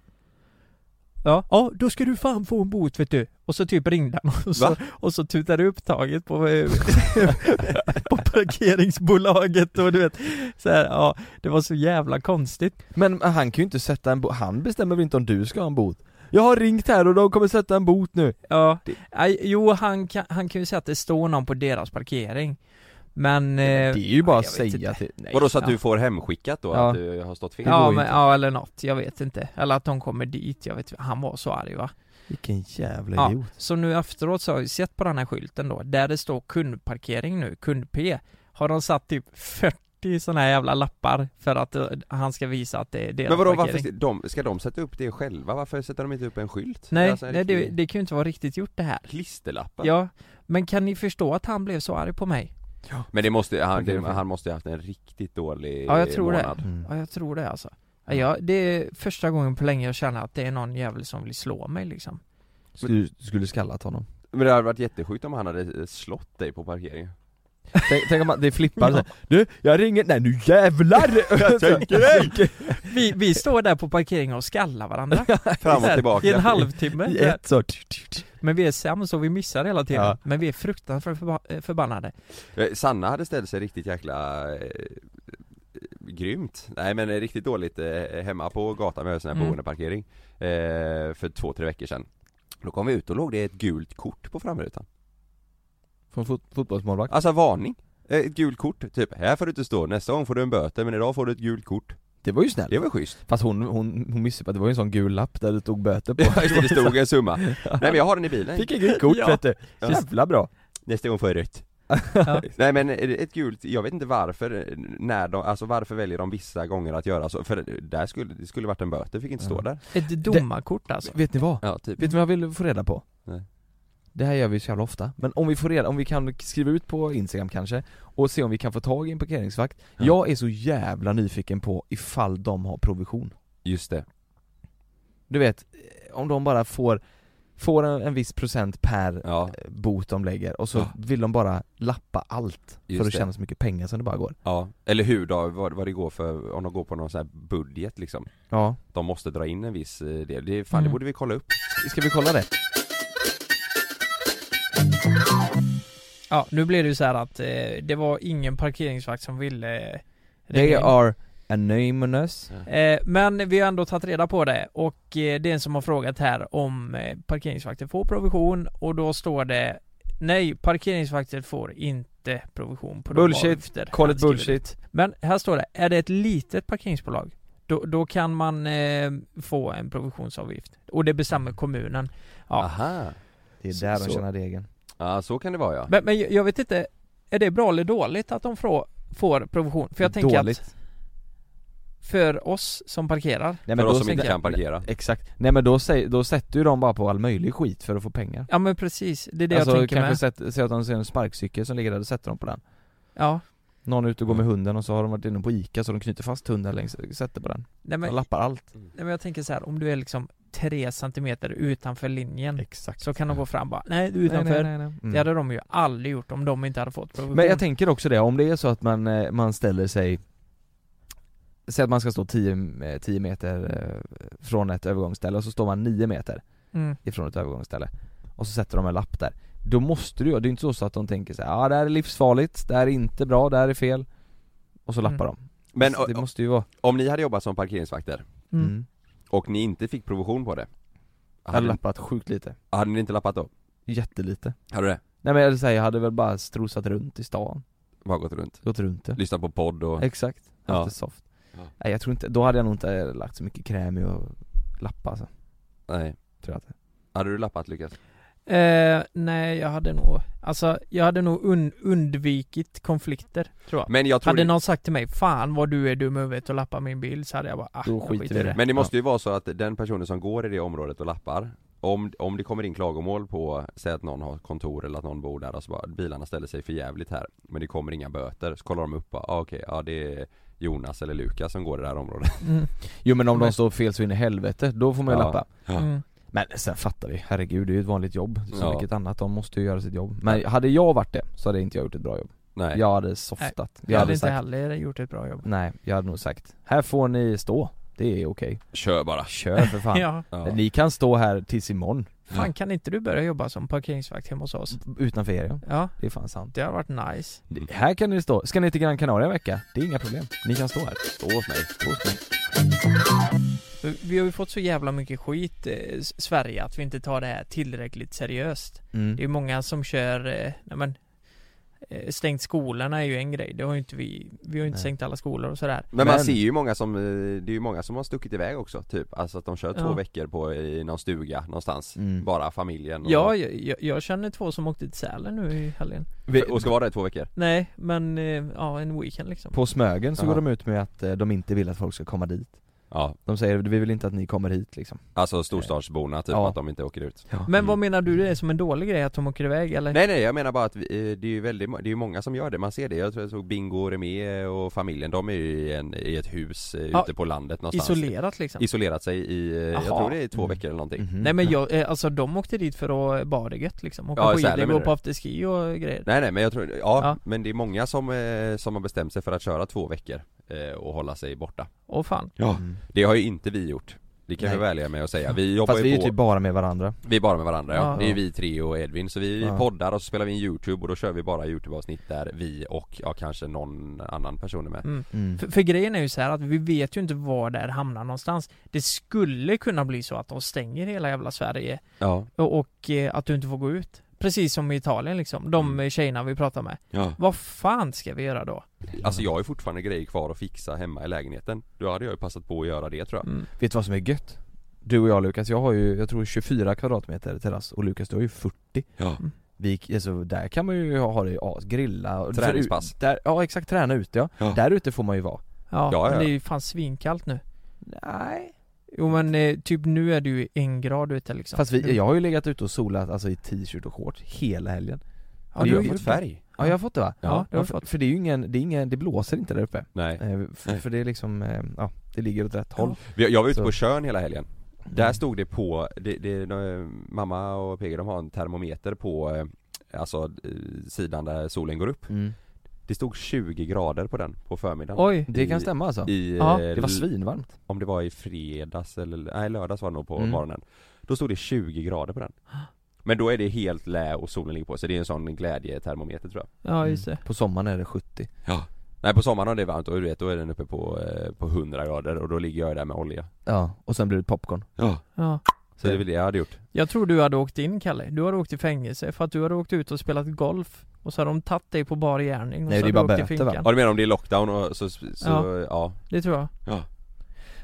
Speaker 4: Ja, ja då ska du fan få en bot vet du. Och så typ ringde han och så,
Speaker 3: Va?
Speaker 4: och så tutade upp taget på, eh, *laughs* på parkeringsbolaget och du vet så här, ja det var så jävla konstigt.
Speaker 2: Men han kan ju inte sätta en bot, han bestämmer väl inte om du ska ha en bot? Jag har ringt här och de kommer sätta en bot nu
Speaker 4: Ja, Nej, jo han kan, han kan ju säga att det står någon på deras parkering Men... eh,
Speaker 2: Det är ju bara
Speaker 4: jag
Speaker 2: att
Speaker 4: vet
Speaker 2: säga
Speaker 4: inte.
Speaker 2: till, nej
Speaker 3: Vadå så att
Speaker 4: Ja.
Speaker 3: du får hemskickat då?
Speaker 2: Ja.
Speaker 3: Att du har stått fel?
Speaker 2: går
Speaker 4: Ja
Speaker 2: ju
Speaker 4: men,
Speaker 2: inte.
Speaker 4: ja eller något, jag vet inte. Eller att de kommer dit, jag vet Han var så arg va?
Speaker 2: Vilken jävla
Speaker 4: Ja.
Speaker 2: idiot
Speaker 4: Så nu efteråt så har jag ju sett på den här skylten då, där det står kundparkering nu, kund-P Har de satt typ 40 sådana här jävla lappar för att eh, han ska visa att det är deras
Speaker 3: Men vadå
Speaker 4: parkering
Speaker 3: varför, de, ska de sätta upp det själva? Varför sätter de inte upp en skylt?
Speaker 4: Nej,
Speaker 3: Alltså, en
Speaker 4: nej det,
Speaker 3: riktig
Speaker 4: det kan ju inte vara riktigt gjort det här
Speaker 3: Klisterlappar?
Speaker 4: Ja, men kan ni förstå att han blev så arg på mig?
Speaker 3: Men det måste, han,
Speaker 2: Okej,
Speaker 3: det,
Speaker 2: okej.
Speaker 3: han måste ju haft en riktigt dålig
Speaker 4: Ja, jag tror det.
Speaker 3: månad.
Speaker 2: mm.
Speaker 4: Ja, jag tror det alltså. Ja, jag, det är första gången på länge jag känner att det är någon jävel som vill slå mig liksom.
Speaker 2: Så du skulle skallat honom
Speaker 3: Men det hade varit jättesjukt om han hade eh, slått dig på parkeringen
Speaker 2: *laughs* Tänk, tänk om man, det flippar ja. Du, jag ringer, nej nu *laughs* jävlar!
Speaker 3: Jag tänker
Speaker 2: *laughs*
Speaker 3: dig!
Speaker 4: *laughs* Vi, vi står där på parkeringen och skallar *laughs* varandra.
Speaker 3: Fram och tillbaka
Speaker 4: I en *laughs* halvtimme.
Speaker 2: I ett så
Speaker 4: Men vi är sämst och vi missar hela tiden.
Speaker 2: Ja.
Speaker 4: Men vi är fruktansvärt förba- förbannade.
Speaker 3: Eh, Sanna hade ställt sig riktigt jäkla eh, eh, grymt. Nej men eh, riktigt dåligt eh, hemma på gatan med en sån här
Speaker 4: Mm.
Speaker 3: boendeparkering. Eh, för två, tre veckor sedan. Då kom vi ut och låg det ett gult kort på framrutan.
Speaker 2: Från fot, fotbollsmålvakt?
Speaker 3: Alltså varning. Eh, Ett gult kort, typ här får du inte stå, nästa gång får du en böter men idag får du ett gult kort.
Speaker 2: Det var ju snällt
Speaker 3: Det
Speaker 2: *laughs*
Speaker 3: var schysst.
Speaker 2: Fast hon, hon, hon missade på att det var ju en sån gul lapp där *laughs* det tog böter på
Speaker 3: det stod en summa. Nej men jag har den i bilen.
Speaker 2: Fick inget kort
Speaker 4: Ja.
Speaker 2: vet du,
Speaker 3: Ja.
Speaker 2: jävla bra
Speaker 3: Nästa gång får jag
Speaker 2: *laughs*
Speaker 3: rött.
Speaker 4: Ja.
Speaker 3: Nej men ett gult, jag vet inte varför, eh, när de, alltså varför väljer de vissa gånger att göra så? För där skulle, det skulle varit en böter, fick inte stå
Speaker 2: Ja.
Speaker 3: där.
Speaker 4: Ett domarkort alltså.
Speaker 2: Vet ni vad?
Speaker 3: Ja typ.
Speaker 2: Vet ni vad jag vill få reda på?
Speaker 3: Nej.
Speaker 2: Det här gör vi så jävla ofta, men om vi får reda, om vi kan skriva ut på instagram kanske och se om vi kan få tag i en parkeringsvakt
Speaker 3: Ja.
Speaker 2: Jag är så jävla nyfiken på ifall de har provision
Speaker 3: Just det.
Speaker 2: Du vet, eh, om de bara får, får en, en viss procent per
Speaker 3: Ja,
Speaker 2: eh, bot de lägger och så
Speaker 3: Ja.
Speaker 2: vill de bara lappa allt
Speaker 3: Just
Speaker 2: för att
Speaker 3: det.
Speaker 2: tjäna så mycket pengar som det bara går
Speaker 3: ja. Eller hur då, vad, vad det går för, om de går på någon sån här budget liksom.
Speaker 2: Ja,
Speaker 3: De måste dra in en viss eh, del. Det, fan det
Speaker 4: Mm.
Speaker 3: borde vi kolla upp.
Speaker 2: ska vi kolla det?
Speaker 4: Ja, nu blev det ju så här att eh, det var ingen parkeringsvakt som ville eh,
Speaker 2: They
Speaker 4: ringa in.
Speaker 2: are anonymous
Speaker 4: Eh, men vi har ändå tagit reda på det och eh, det är en som har frågat här om eh, parkeringsvakter får provision och då står det Nej, parkeringsvakter får inte provision på de
Speaker 2: Bullshit.
Speaker 4: avgifter han
Speaker 2: Call it
Speaker 4: skriver.
Speaker 2: bullshit
Speaker 4: Men här står det, är det ett litet parkeringsbolag då, då kan man eh, få en provisionsavgift och det bestämmer kommunen. Ja.
Speaker 3: Aha.
Speaker 2: Det är
Speaker 4: Så-
Speaker 2: där de
Speaker 4: så.
Speaker 2: tjänar degen
Speaker 3: Ja så kan det vara ja.
Speaker 4: Men, men jag jag vet inte, är det bra eller dåligt att de frå, får provision? För jag tänker
Speaker 2: Dåligt.
Speaker 4: att för oss som parkerar.
Speaker 2: Nej,
Speaker 3: för
Speaker 2: då
Speaker 3: oss som
Speaker 2: tänker
Speaker 3: inte
Speaker 2: jag-
Speaker 3: kan parkera.
Speaker 2: Exakt, nej men då, sä- då sätter ju de bara på all möjlig skit för att få pengar
Speaker 4: Ja men precis, det är det
Speaker 2: Alltså
Speaker 4: jag tänker
Speaker 2: kanske
Speaker 4: med.
Speaker 2: sätt, säg att de ser en sparkcykel som ligger där, då sätter de på den
Speaker 4: Ja.
Speaker 2: Någon är ute och går med
Speaker 4: Mm.
Speaker 2: hunden och så har de varit inne på Ica så de knyter fast hunden längs, sätter på den
Speaker 4: Nej,
Speaker 2: De
Speaker 4: men, nej,
Speaker 2: lappar allt
Speaker 4: men jag tänker så här, om du är liksom tre centimeter utanför linjen
Speaker 2: Exakt
Speaker 4: så kan de gå fram och bara, nej du är utanför.
Speaker 2: Mm.
Speaker 4: Det hade de ju aldrig gjort om de inte hade fått provision.
Speaker 2: Men jag tänker också det, om det är så att man, eh, man ställer sig Säg att man ska stå 10, 10 meter eh, från ett övergångsställe och så står man 9 meter
Speaker 4: mm.
Speaker 2: ifrån ett övergångsställe Och så sätter de en lapp där Då måste du ju, det är ju inte så så att de tänker så här, ja ah, det här är livsfarligt, det här är inte bra, det här är fel Och så lappar de
Speaker 3: Men
Speaker 2: Så alltså, Det
Speaker 3: o-
Speaker 2: måste ju vara
Speaker 3: om ni hade jobbat som parkeringsvakter
Speaker 4: Mm.
Speaker 2: mm.
Speaker 3: och ni inte fick provision på det
Speaker 2: Jag hade
Speaker 3: Hade,
Speaker 2: lappat sjukt lite,
Speaker 3: hade ni inte lappat då?
Speaker 2: jättelite
Speaker 3: Hade du det?
Speaker 2: Nej men jag säger, jag hade väl bara strosat runt i stan,
Speaker 3: Bara gått runt,
Speaker 2: gått runt det
Speaker 3: lyssnat på podd och...
Speaker 2: Exakt, haft
Speaker 3: Ja.
Speaker 2: det soft
Speaker 3: Ja.
Speaker 2: Nej jag tror inte, då hade jag nog inte eh, lagt så mycket kräm i att lappa alltså,
Speaker 3: Nej
Speaker 2: tror jag att
Speaker 3: Hade du lappat Lukas?
Speaker 4: Eh, nej, jag hade nog, alltså jag hade nog un- undvikit konflikter, tror jag.
Speaker 3: Men jag tror
Speaker 4: hade
Speaker 3: det,
Speaker 4: någon sagt till mig 'Fan vad du är dum i huvudet och lappar min bil' så hade jag bara ah,
Speaker 2: Då
Speaker 4: jag
Speaker 2: skiter vi i det.
Speaker 3: Men det måste ju vara så att den personen som går i det området och lappar om, om det kommer in klagomål på, säg att någon har kontor eller att någon bor där och så bara bilarna ställer sig för jävligt här Men det kommer inga böter, så kollar de upp bara, ah, okej, ja det är Jonas eller Lukas som går i det här området *laughs*
Speaker 4: Mm,
Speaker 2: Jo men om
Speaker 4: Men-
Speaker 2: de står fel så in i helvete, då får man ju
Speaker 3: Ja.
Speaker 2: lappa
Speaker 4: mm.
Speaker 2: Men sen fattar vi, herregud det är ju ett vanligt jobb som
Speaker 3: Ja.
Speaker 2: vilket annat, de måste ju göra sitt jobb Men hade jag varit det så hade inte jag gjort ett bra jobb
Speaker 3: Nej,
Speaker 2: Jag hade softat,
Speaker 4: Jag hade inte
Speaker 2: sagt
Speaker 4: heller gjort ett bra jobb
Speaker 2: Nej, jag hade nog sagt Här får ni stå, det är okej
Speaker 3: kör bara
Speaker 2: Kör för fan
Speaker 4: *laughs* Ja,
Speaker 3: ja.
Speaker 2: Ni kan stå här tills imorgon
Speaker 4: fan kan inte du börja jobba som parkeringsvakt hemma hos oss?
Speaker 2: Utanför er ja,
Speaker 4: Ja,
Speaker 2: det är fan sant
Speaker 4: det har varit nice
Speaker 2: Det- Här kan ni stå, ska ni till Gran Canaria en vecka? Det är inga problem, ni kan stå här Stå hos mig, stå hos mig
Speaker 4: Vi- Vi har ju fått så jävla mycket skit eh, s- Sverige att vi inte tar det här tillräckligt seriöst Det är
Speaker 2: mm.
Speaker 4: ju många som kör, eh, nej men eh, Stängt skolorna är ju en grej, det har ju inte vi Vi har ju inte
Speaker 2: Nej.
Speaker 4: stängt alla skolor och sådär
Speaker 3: Men man
Speaker 2: Men-
Speaker 3: ser ju många som, eh, det är ju många som har stuckit iväg också typ Alltså att de kör två
Speaker 4: Ja.
Speaker 3: veckor på, i någon stuga någonstans
Speaker 2: Mm.
Speaker 3: Bara familjen och,
Speaker 4: Ja, jag, jag, jag känner två som åkte till Sälen nu i helgen
Speaker 2: Vi-
Speaker 3: och ska vara där i två veckor
Speaker 4: Nej, men eh, ja, en weekend liksom
Speaker 2: På Smögen så
Speaker 3: Jaha.
Speaker 2: går de ut med att eh, de inte vill att folk ska komma dit
Speaker 3: Ja,
Speaker 2: De säger vi vill inte att ni kommer hit liksom
Speaker 3: alltså storstadsborna typ,
Speaker 2: Ja.
Speaker 3: att de inte åker ut
Speaker 4: Men
Speaker 3: Mm.
Speaker 4: vad menar du det är som en dålig grej att de åker iväg eller?
Speaker 3: Nej nej jag menar bara att vi, eh, det är ju väldigt, det är ju många som gör det, man ser det. Jag tror jag såg Bingo, Remé och familjen, de är ju i, en, i ett hus eh,
Speaker 4: Ja,
Speaker 3: ute på landet någonstans
Speaker 4: Isolerat liksom?
Speaker 3: Isolerat sig i, eh, jag
Speaker 4: Jaha.
Speaker 3: tror det är två
Speaker 2: Mm.
Speaker 3: veckor eller någonting
Speaker 2: Mhm.
Speaker 4: Nej men jag, eh, alltså de åkte dit för att bara det gött liksom, åka
Speaker 3: Ja, i Sälen
Speaker 4: skidor,
Speaker 3: menar
Speaker 4: gå
Speaker 3: du?
Speaker 4: på afterski och grejer
Speaker 3: Nej nej men jag tror, ja,
Speaker 4: Ja.
Speaker 3: men det är många som, eh, som har bestämt sig för att köra två veckor eh, och hålla sig borta
Speaker 4: Åh fan
Speaker 3: Ja
Speaker 2: Mm.
Speaker 3: Det har ju inte vi gjort Det kan
Speaker 2: Nej.
Speaker 3: vi väl ärliga med att säga, vi jobbar
Speaker 2: Fast
Speaker 3: ju
Speaker 2: vi är ju
Speaker 3: på,
Speaker 2: typ bara med varandra
Speaker 3: vi är bara med varandra ja.
Speaker 4: Ja.
Speaker 3: det är ju vi tre och Edvin så vi
Speaker 2: Ja.
Speaker 3: poddar och så spelar vi in youtube och då kör vi bara youtube-avsnitt där vi och, ja kanske någon annan person är med
Speaker 4: mm. för, för grejen är ju så här att vi vet ju inte var det här hamnar någonstans Det skulle kunna bli så att de stänger hela jävla Sverige
Speaker 3: Ja,
Speaker 4: och, och eh, att du inte får gå ut Precis som i Italien liksom, de
Speaker 3: Mm.
Speaker 4: eh, tjejerna vi pratar med
Speaker 3: ja
Speaker 4: Vad fan ska vi göra då?
Speaker 3: Alltså jag har ju fortfarande grejer kvar att fixa hemma i lägenheten Då hade jag ju passat på att göra det tror jag
Speaker 4: Mm.
Speaker 2: Vet du vad som är gött? Du och jag Lukas, jag har ju, jag tror 24 kvadratmeter terrass och Lukas du har ju 40
Speaker 3: Ja.
Speaker 4: Mm.
Speaker 2: vi, alltså, där kan man ju ha ha det as, grilla och
Speaker 3: Träningspass.
Speaker 2: Där, ja exakt, träna ute ja.
Speaker 3: Ja.
Speaker 2: Där ute får man ju vara
Speaker 4: Ja,
Speaker 3: Ja,
Speaker 4: men
Speaker 3: ja.
Speaker 4: det är ju fan svinkallt nu
Speaker 2: Nej
Speaker 4: Jo men eh, typ nu är du ju en grad ute liksom
Speaker 2: Fast
Speaker 4: Du-
Speaker 2: vi, jag har ju legat ute och solat alltså i t-shirt och shorts hela helgen
Speaker 4: ja,
Speaker 2: vi
Speaker 4: du
Speaker 2: har
Speaker 4: är ju-
Speaker 2: fått
Speaker 3: färg?
Speaker 2: Ja jag har fått det va?
Speaker 3: Ja,
Speaker 4: Ja, det har
Speaker 2: Ja,
Speaker 4: du
Speaker 2: för,
Speaker 4: fått
Speaker 2: för det är ju ingen, det är ingen, det blåser inte där uppe
Speaker 3: Nej
Speaker 2: Eh, för, för det är liksom, eh, ja, det ligger åt rätt håll
Speaker 3: Vi- Jag var ute
Speaker 2: Så-
Speaker 3: på Tjörn hela helgen
Speaker 4: Mm.
Speaker 3: Där stod det på, det, det, de- mamma och PG de har en termometer på eh, Alltså eh, sidan där solen går upp
Speaker 2: mm.
Speaker 3: Det stod 20 grader på den på förmiddagen
Speaker 4: Oj,
Speaker 2: Det
Speaker 3: I-
Speaker 2: kan stämma alltså
Speaker 3: I,
Speaker 4: Ja,
Speaker 3: eh,
Speaker 2: Det var svinvarmt
Speaker 3: Om det var i fredags eller, nej lördags var det nog på
Speaker 2: Mm.
Speaker 3: morgonen Då stod det 20 grader på den Men då är det helt lä och solen ligger på så det är en sån glädjetermometer tror jag
Speaker 4: ja
Speaker 2: Mm.
Speaker 4: just det
Speaker 2: På sommaren är det 70
Speaker 3: Nej på sommaren om det är varmt och du vet då är den uppe på, eh, på 100 grader och då ligger jag där med olja
Speaker 2: Ja, och sen blir det popcorn
Speaker 3: Ja
Speaker 4: ja.
Speaker 3: Så det är väl det jag hade gjort
Speaker 4: Jag tror du hade åkt in Kalle, du hade åkt i fängelse för att du hade åkt ut och spelat golf Och så hade de tagit dig på bar gärning och
Speaker 2: Nej,
Speaker 4: så
Speaker 2: det är
Speaker 4: hade du
Speaker 2: bara
Speaker 4: åkt i
Speaker 2: böter, va?
Speaker 4: finkan.
Speaker 3: Ja du menar om det är lockdown och så, så ja.
Speaker 4: Ja.
Speaker 3: ja.
Speaker 4: Det tror jag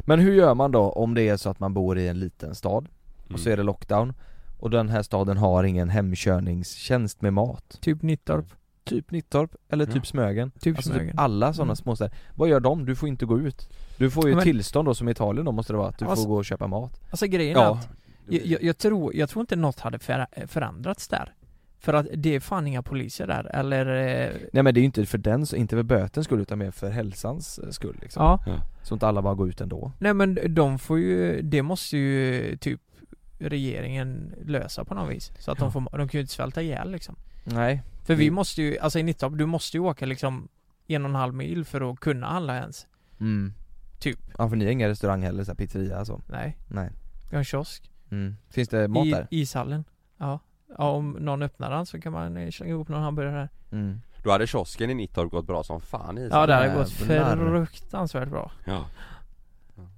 Speaker 2: Men hur gör man då om det är så att man bor i en liten stad och så är
Speaker 3: Mm.
Speaker 2: det lockdown och den här staden har ingen hemkörningstjänst med mat?
Speaker 4: Typ Nittorp
Speaker 2: typ Nittorp eller
Speaker 3: Ja.
Speaker 2: typ Smögen.
Speaker 4: Typ
Speaker 2: Alltså
Speaker 4: Smögen.
Speaker 2: typ alla sådana
Speaker 4: Mm.
Speaker 2: småstäder. Vad gör de? Du får inte gå ut. Du får ju
Speaker 4: Ja, men-
Speaker 2: tillstånd då som i Italien då måste det vara, att du
Speaker 4: Alltså-
Speaker 2: får gå och köpa mat.
Speaker 4: Alltså grejen är
Speaker 3: Ja.
Speaker 4: att jag, jag, jag, tror, jag tror inte något hade föra- förändrats där. För att det är fan inga poliser där, eller... eh,
Speaker 2: Nej men det är ju inte för den, inte för bötens skull utan mer för hälsans eh, skull liksom.
Speaker 4: Ja,
Speaker 2: Så inte alla bara går ut ändå.
Speaker 4: nej men de får ju, det måste ju typ regeringen lösa på något vis. Så att
Speaker 2: Ja.
Speaker 4: de, får, de kan ju inte svälta ihjäl liksom.
Speaker 2: Nej.
Speaker 4: För vi
Speaker 2: Mm.
Speaker 4: måste ju, alltså i Nittorp, du måste ju åka liksom en och en halv mil för att kunna handla ens.
Speaker 2: Mm.
Speaker 4: Typ.
Speaker 2: Ja för ni har ingen restaurang heller, så här pizzeria alltså.
Speaker 4: Nej,
Speaker 2: Nej.
Speaker 4: vi har en kiosk.
Speaker 2: Mm. Finns det mat
Speaker 4: I
Speaker 2: där?
Speaker 4: ishallen. Ja. ja, om någon öppnar den så kan man eh, slänga ihop någon hamburgare där.
Speaker 2: Mm.
Speaker 3: Då hade kiosken i Nittorp gått bra som fan i
Speaker 4: Ja, det hade
Speaker 2: Jävlar.
Speaker 4: gått fruktansvärt bra.
Speaker 3: ja.